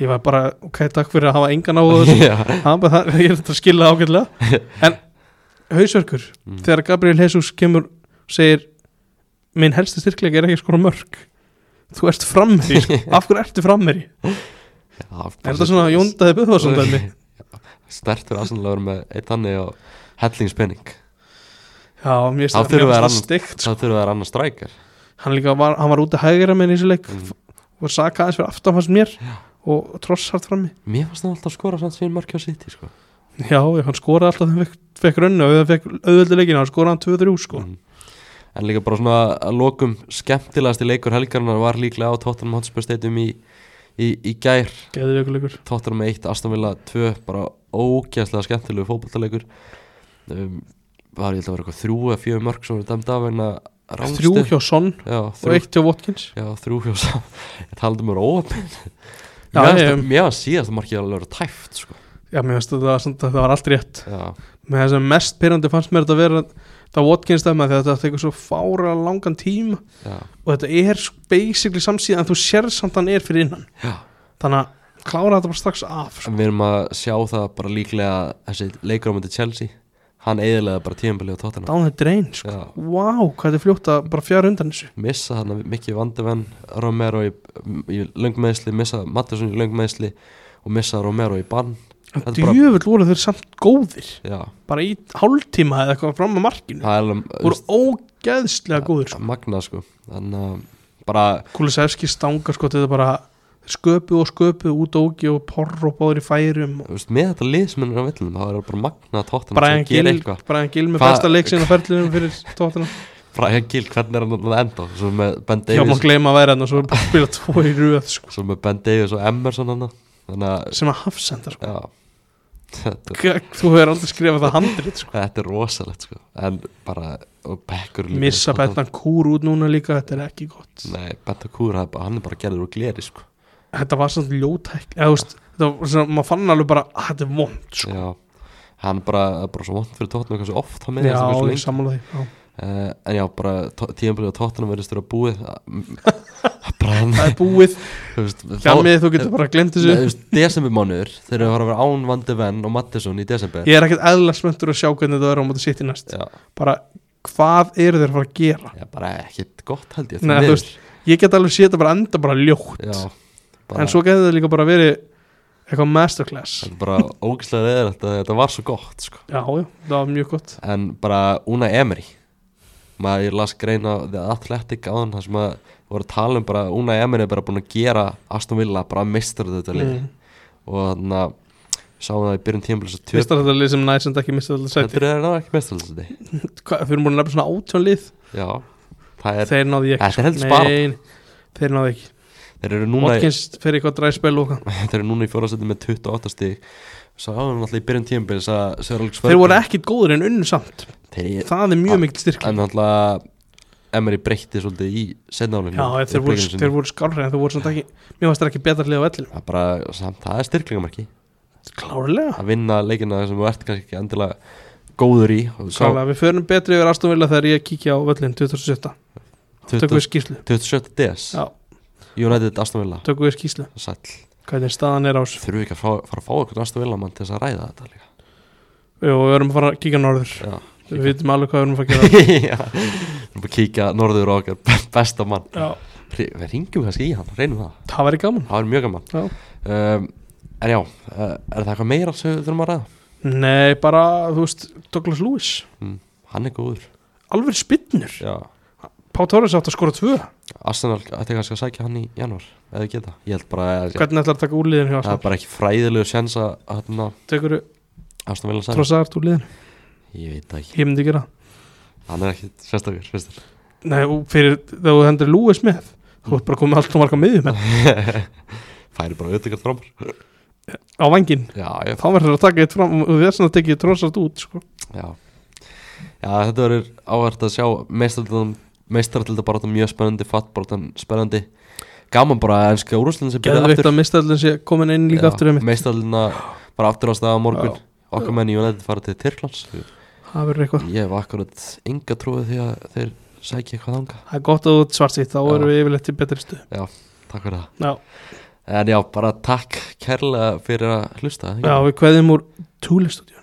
Speaker 2: ég var bara, ok, takk fyrir að hafa engan á þessu
Speaker 1: [LAUGHS] Já,
Speaker 2: Það var bara það, ég er þetta að skilja það ágætlega
Speaker 1: [LAUGHS]
Speaker 2: En hausverkur,
Speaker 1: Mm.
Speaker 2: þegar Gabriel Jesus kemur og segir minn helsti styrkleika er ekki að skora mörg Þú ert frammeri,
Speaker 1: [LAUGHS]
Speaker 2: sko. af hverju ertu frammeri? Er þetta svona Jóndaði Böðvarsson dæmi?
Speaker 1: [LAUGHS] Stertur Arsenal að vera með eitt hannig og hellingspenning
Speaker 2: Já, mér
Speaker 1: Þá þurfum við að
Speaker 2: finnst það
Speaker 1: rann-
Speaker 2: stygt
Speaker 1: Það þurfa að vera annar strækjar
Speaker 2: Hann líka var, hann var úti hægra með þessu leik
Speaker 1: Mm.
Speaker 2: og saka aðeins fyrir aftan fannst mér og trossart frammi
Speaker 1: Mér fannst það alltaf skora samt sín markja á City sko.
Speaker 2: Já, já, hann skoraði alltaf þegar hann fekk, fekk rönnu og þegar hann fekk auðvöldilegin, hann skoraði hann 2-3 sko.
Speaker 1: Mm. En líka bara svona að lokum skemmtilegasti leikur helgarinnar var líklega á Tottenham Hotspur Stadium í, í, í gær
Speaker 2: Geðveikur leikur.
Speaker 1: Tottenham 1, Aston Villa 2 bara ógæslega skemmtilegu fótballtaleikur um, var ég held að vera eitthvað þrjú eða fjögur mörg sem voru dæmd af en að
Speaker 2: Þrjú hjá Son
Speaker 1: já,
Speaker 2: og
Speaker 1: þrjú,
Speaker 2: eitt hjá Watkins
Speaker 1: já, þrjú hjá sam ég talaði mér óöfn
Speaker 2: Já, ég-
Speaker 1: mér var síðast að markið alveg að vera tæft sko.
Speaker 2: Já, mér finnst þetta, samt að þetta var allt rétt
Speaker 1: já,
Speaker 2: Með þess að mest pyrrandi fannst mér þetta að vera Það Watkins dæma þegar þetta tekur svo fára langan tíma
Speaker 1: já,
Speaker 2: Og þetta er basically samsíðan En þú sér samt hann er fyrir innan
Speaker 1: já,
Speaker 2: Þannig að klára þetta bara strax af sko.
Speaker 1: En við erum að sjá það bara líklega að þessi leikrámyndi Chelsea hann eiginlega bara tíðanbili á tóttina
Speaker 2: down the drain, sko.
Speaker 1: Já,
Speaker 2: vá, hvað þetta er fljótt að bara fjara undan þessu
Speaker 1: missa hann mikið vandivenn Romero í, í löngmeðsli missa Mattisson í löngmeðsli og missa Romero í bann Þetta er bara-
Speaker 2: djöfull voru þeir samt góðir
Speaker 1: Já,
Speaker 2: bara í hálftíma eða eitthvað fram að markinu
Speaker 1: það er alveg
Speaker 2: voru ógeðslega góðir sko.
Speaker 1: magna sko þannig að bara
Speaker 2: Kulisevski stanga sko, þetta bara sköpuð og sköpuð út ógi og porr og báður í færum og
Speaker 1: þú veist, með þetta lið sem er á villunum það er bara magna tóttina
Speaker 2: Brian Gill,
Speaker 1: eitthvað
Speaker 2: Brian Gill með
Speaker 1: Hvað-
Speaker 2: besta leik sinna ferðlunum fyrir tóttina
Speaker 1: Brian Gill, hvernig er hann að enda svo með Ben
Speaker 2: Já, maður
Speaker 1: Davies
Speaker 2: gleyma að vera hann og svo er bara að spila tvo í röð sko,
Speaker 1: svo með Ben Davies og Emerson hann þannig að
Speaker 2: sem að hafsenda sko.
Speaker 1: já [LAUGHS] þetta,
Speaker 2: K- Þú hefur aldrei skrifað það handrið sko.
Speaker 1: þetta er rosalegt sko en bara og Bekkur
Speaker 2: Missa Bettan Kúr út núna líka, þetta er ekki gott
Speaker 1: Nei, Bentancur, hann er bara- hann er bara gerður úr gleri sko.
Speaker 2: Þetta var samt ljótæk eða, þú veist, þetta var svona, maður fann alveg bara að þetta er vond sko.
Speaker 1: Já, hann bara, það er bara svo vond fyrir tóttunum hversu oft hann
Speaker 2: Já,
Speaker 1: meðast hversu
Speaker 2: ég
Speaker 1: lengi
Speaker 2: sammála því já.
Speaker 1: uh, En já, bara tíðanbyrðið á tóttunum verðist þurfa
Speaker 2: [LAUGHS]
Speaker 1: búið Brann
Speaker 2: Það er búið,
Speaker 1: [LAUGHS] Þú veist,
Speaker 2: hjálmið, þú getur bara glemt
Speaker 1: Nei, þú
Speaker 2: þessu
Speaker 1: veist, desembermánuður þeir eru að fara að vera án Van de Ven og Mattisson í desember
Speaker 2: Ég er ekkert eðla smöntur að sjá hvernig þetta er á móti sitt í næst
Speaker 1: já,
Speaker 2: Bara, hvað eru þeir að fara að gera?
Speaker 1: já, bara ekkit gott held ég því
Speaker 2: Nei, þú
Speaker 1: miður.
Speaker 2: veist, ég get alveg séð þetta bara enda bara ljótt
Speaker 1: já, bara,
Speaker 2: En svo getur það líka bara verið eitthvað masterclass
Speaker 1: þetta er bara ógislega reyður þetta, þetta var svo gott sko.
Speaker 2: Já, já, það var mjög gott
Speaker 1: en bara Una Emery maður ég las grein á The Athletic á hann þar sem að voru að tala um bara Una Emery er bara búin að gera Aston Villa bara mistur þetta lið
Speaker 2: Mm.
Speaker 1: og þannig að sáum það í byrjun tímpil þess að tjöp
Speaker 2: Mistar þetta lið sem næst en ekki mistar þetta sæti
Speaker 1: þetta er náður ekki mistur þetta
Speaker 2: Hva, Við erum búin að nefna svona átjón lið
Speaker 1: já, það er,
Speaker 2: Þeir náðu ekki
Speaker 1: Þetta er heldur
Speaker 2: sko.
Speaker 1: spara.
Speaker 2: Nei, Þeir náðu ekki
Speaker 1: þeir eru núna í-
Speaker 2: Watkins fer í eitthvað dræspil og hvað
Speaker 1: [LAUGHS] þeir eru núna í fjórasetti með 28 stík svo áður náttúrulega í byrjun tímabils að Sir Alex
Speaker 2: Þeir voru ekkit góður en unnu samt
Speaker 1: þeir,
Speaker 2: Það er
Speaker 1: Ah,
Speaker 2: mjög mikil styrk
Speaker 1: en náttúrulega Emery breytti svolítið í setnálinni
Speaker 2: Já, en þeir voru, þeir voru skárri en þeir voru samt ekki Mér varst það ekki betra lið á ellinu
Speaker 1: það, er bara, samt, það er styrklingamarki
Speaker 2: Klárlega
Speaker 1: að vinna leikina sem þú ert kannski ekki endilega góður í og sá
Speaker 2: Klárlega, við förum betri yfir Aston Villa þegar ég kíkja á völlin 2017
Speaker 1: 20
Speaker 2: Tökum við skýslu
Speaker 1: 27. DS
Speaker 2: Já,
Speaker 1: United Aston Villa
Speaker 2: tökum við skýslu
Speaker 1: sæll
Speaker 2: Hvernig staðan er á þessu
Speaker 1: þurfum við ekki að fá, fara að fá eitthvað Aston Villa mann til þess að ræða þetta líka
Speaker 2: Jú, við verum að fara að kíkja norður
Speaker 1: já
Speaker 2: Við vitum alveg hvað við erum að fara að gera
Speaker 1: Já. [LAUGHS] við erum að kíkja norður á okkar besta mann
Speaker 2: Já,
Speaker 1: Hri- við ringjum kannski í hann, reynum það
Speaker 2: það væri gaman
Speaker 1: það er mjög gaman
Speaker 2: Já.
Speaker 1: um, En já, uh, er það eitthvað meira sem við þurfum að ræða?
Speaker 2: Nei, bara, þú veist, Douglas Lewis
Speaker 1: Mm, hann er góður
Speaker 2: Alveg spinnur
Speaker 1: já.
Speaker 2: Pá Torres átt að skora tvö
Speaker 1: Arsenal ætti kannski að sækja hann í janúar eða geta, ég held bara að
Speaker 2: Hvernig ætlar að taka úrliðin hjá
Speaker 1: það er
Speaker 2: Arsenal?
Speaker 1: bara ekki fræðilegu sjens að hérna,
Speaker 2: Tekur
Speaker 1: Aston Villa sækja
Speaker 2: Trossard úrliðin?
Speaker 1: Ég veit það ekki,
Speaker 2: Ég myndi gera það.
Speaker 1: hann er ekki sérstakur finnst þér?
Speaker 2: Nei, og fyrir þegar þú hendur Lewis með Þú ert bara komið allt og marga miðjum
Speaker 1: Færi bara auðvitað framar
Speaker 2: á vangin
Speaker 1: Já, ég,
Speaker 2: Þá verður það að taka eitt fram og þess að tekið Trossard út sko.
Speaker 1: já. já þetta verður áhært að sjá meistarallita bara mjög spennandi fattbrotan spennandi gaman bara að enska úrúslinn sem byrja
Speaker 2: Geðveikt að mistaðlun sé komin inn líka aftur um
Speaker 1: meistarallina bara aftur á staða morgun
Speaker 2: Já.
Speaker 1: okkar menn í United fara til Tyrklands
Speaker 2: Það verður eitthvað
Speaker 1: ég hef akkurat enga trúið því að þeir sækja eitthvað þanga
Speaker 2: Það er gott að þú ert svartsýtt, þá
Speaker 1: Já.
Speaker 2: erum við yfirleitt í betri stuð
Speaker 1: takk fyrir það
Speaker 2: Já,
Speaker 1: en já, bara takk kærlega fyrir að hlusta
Speaker 2: Já við kveðum úr Tule Studio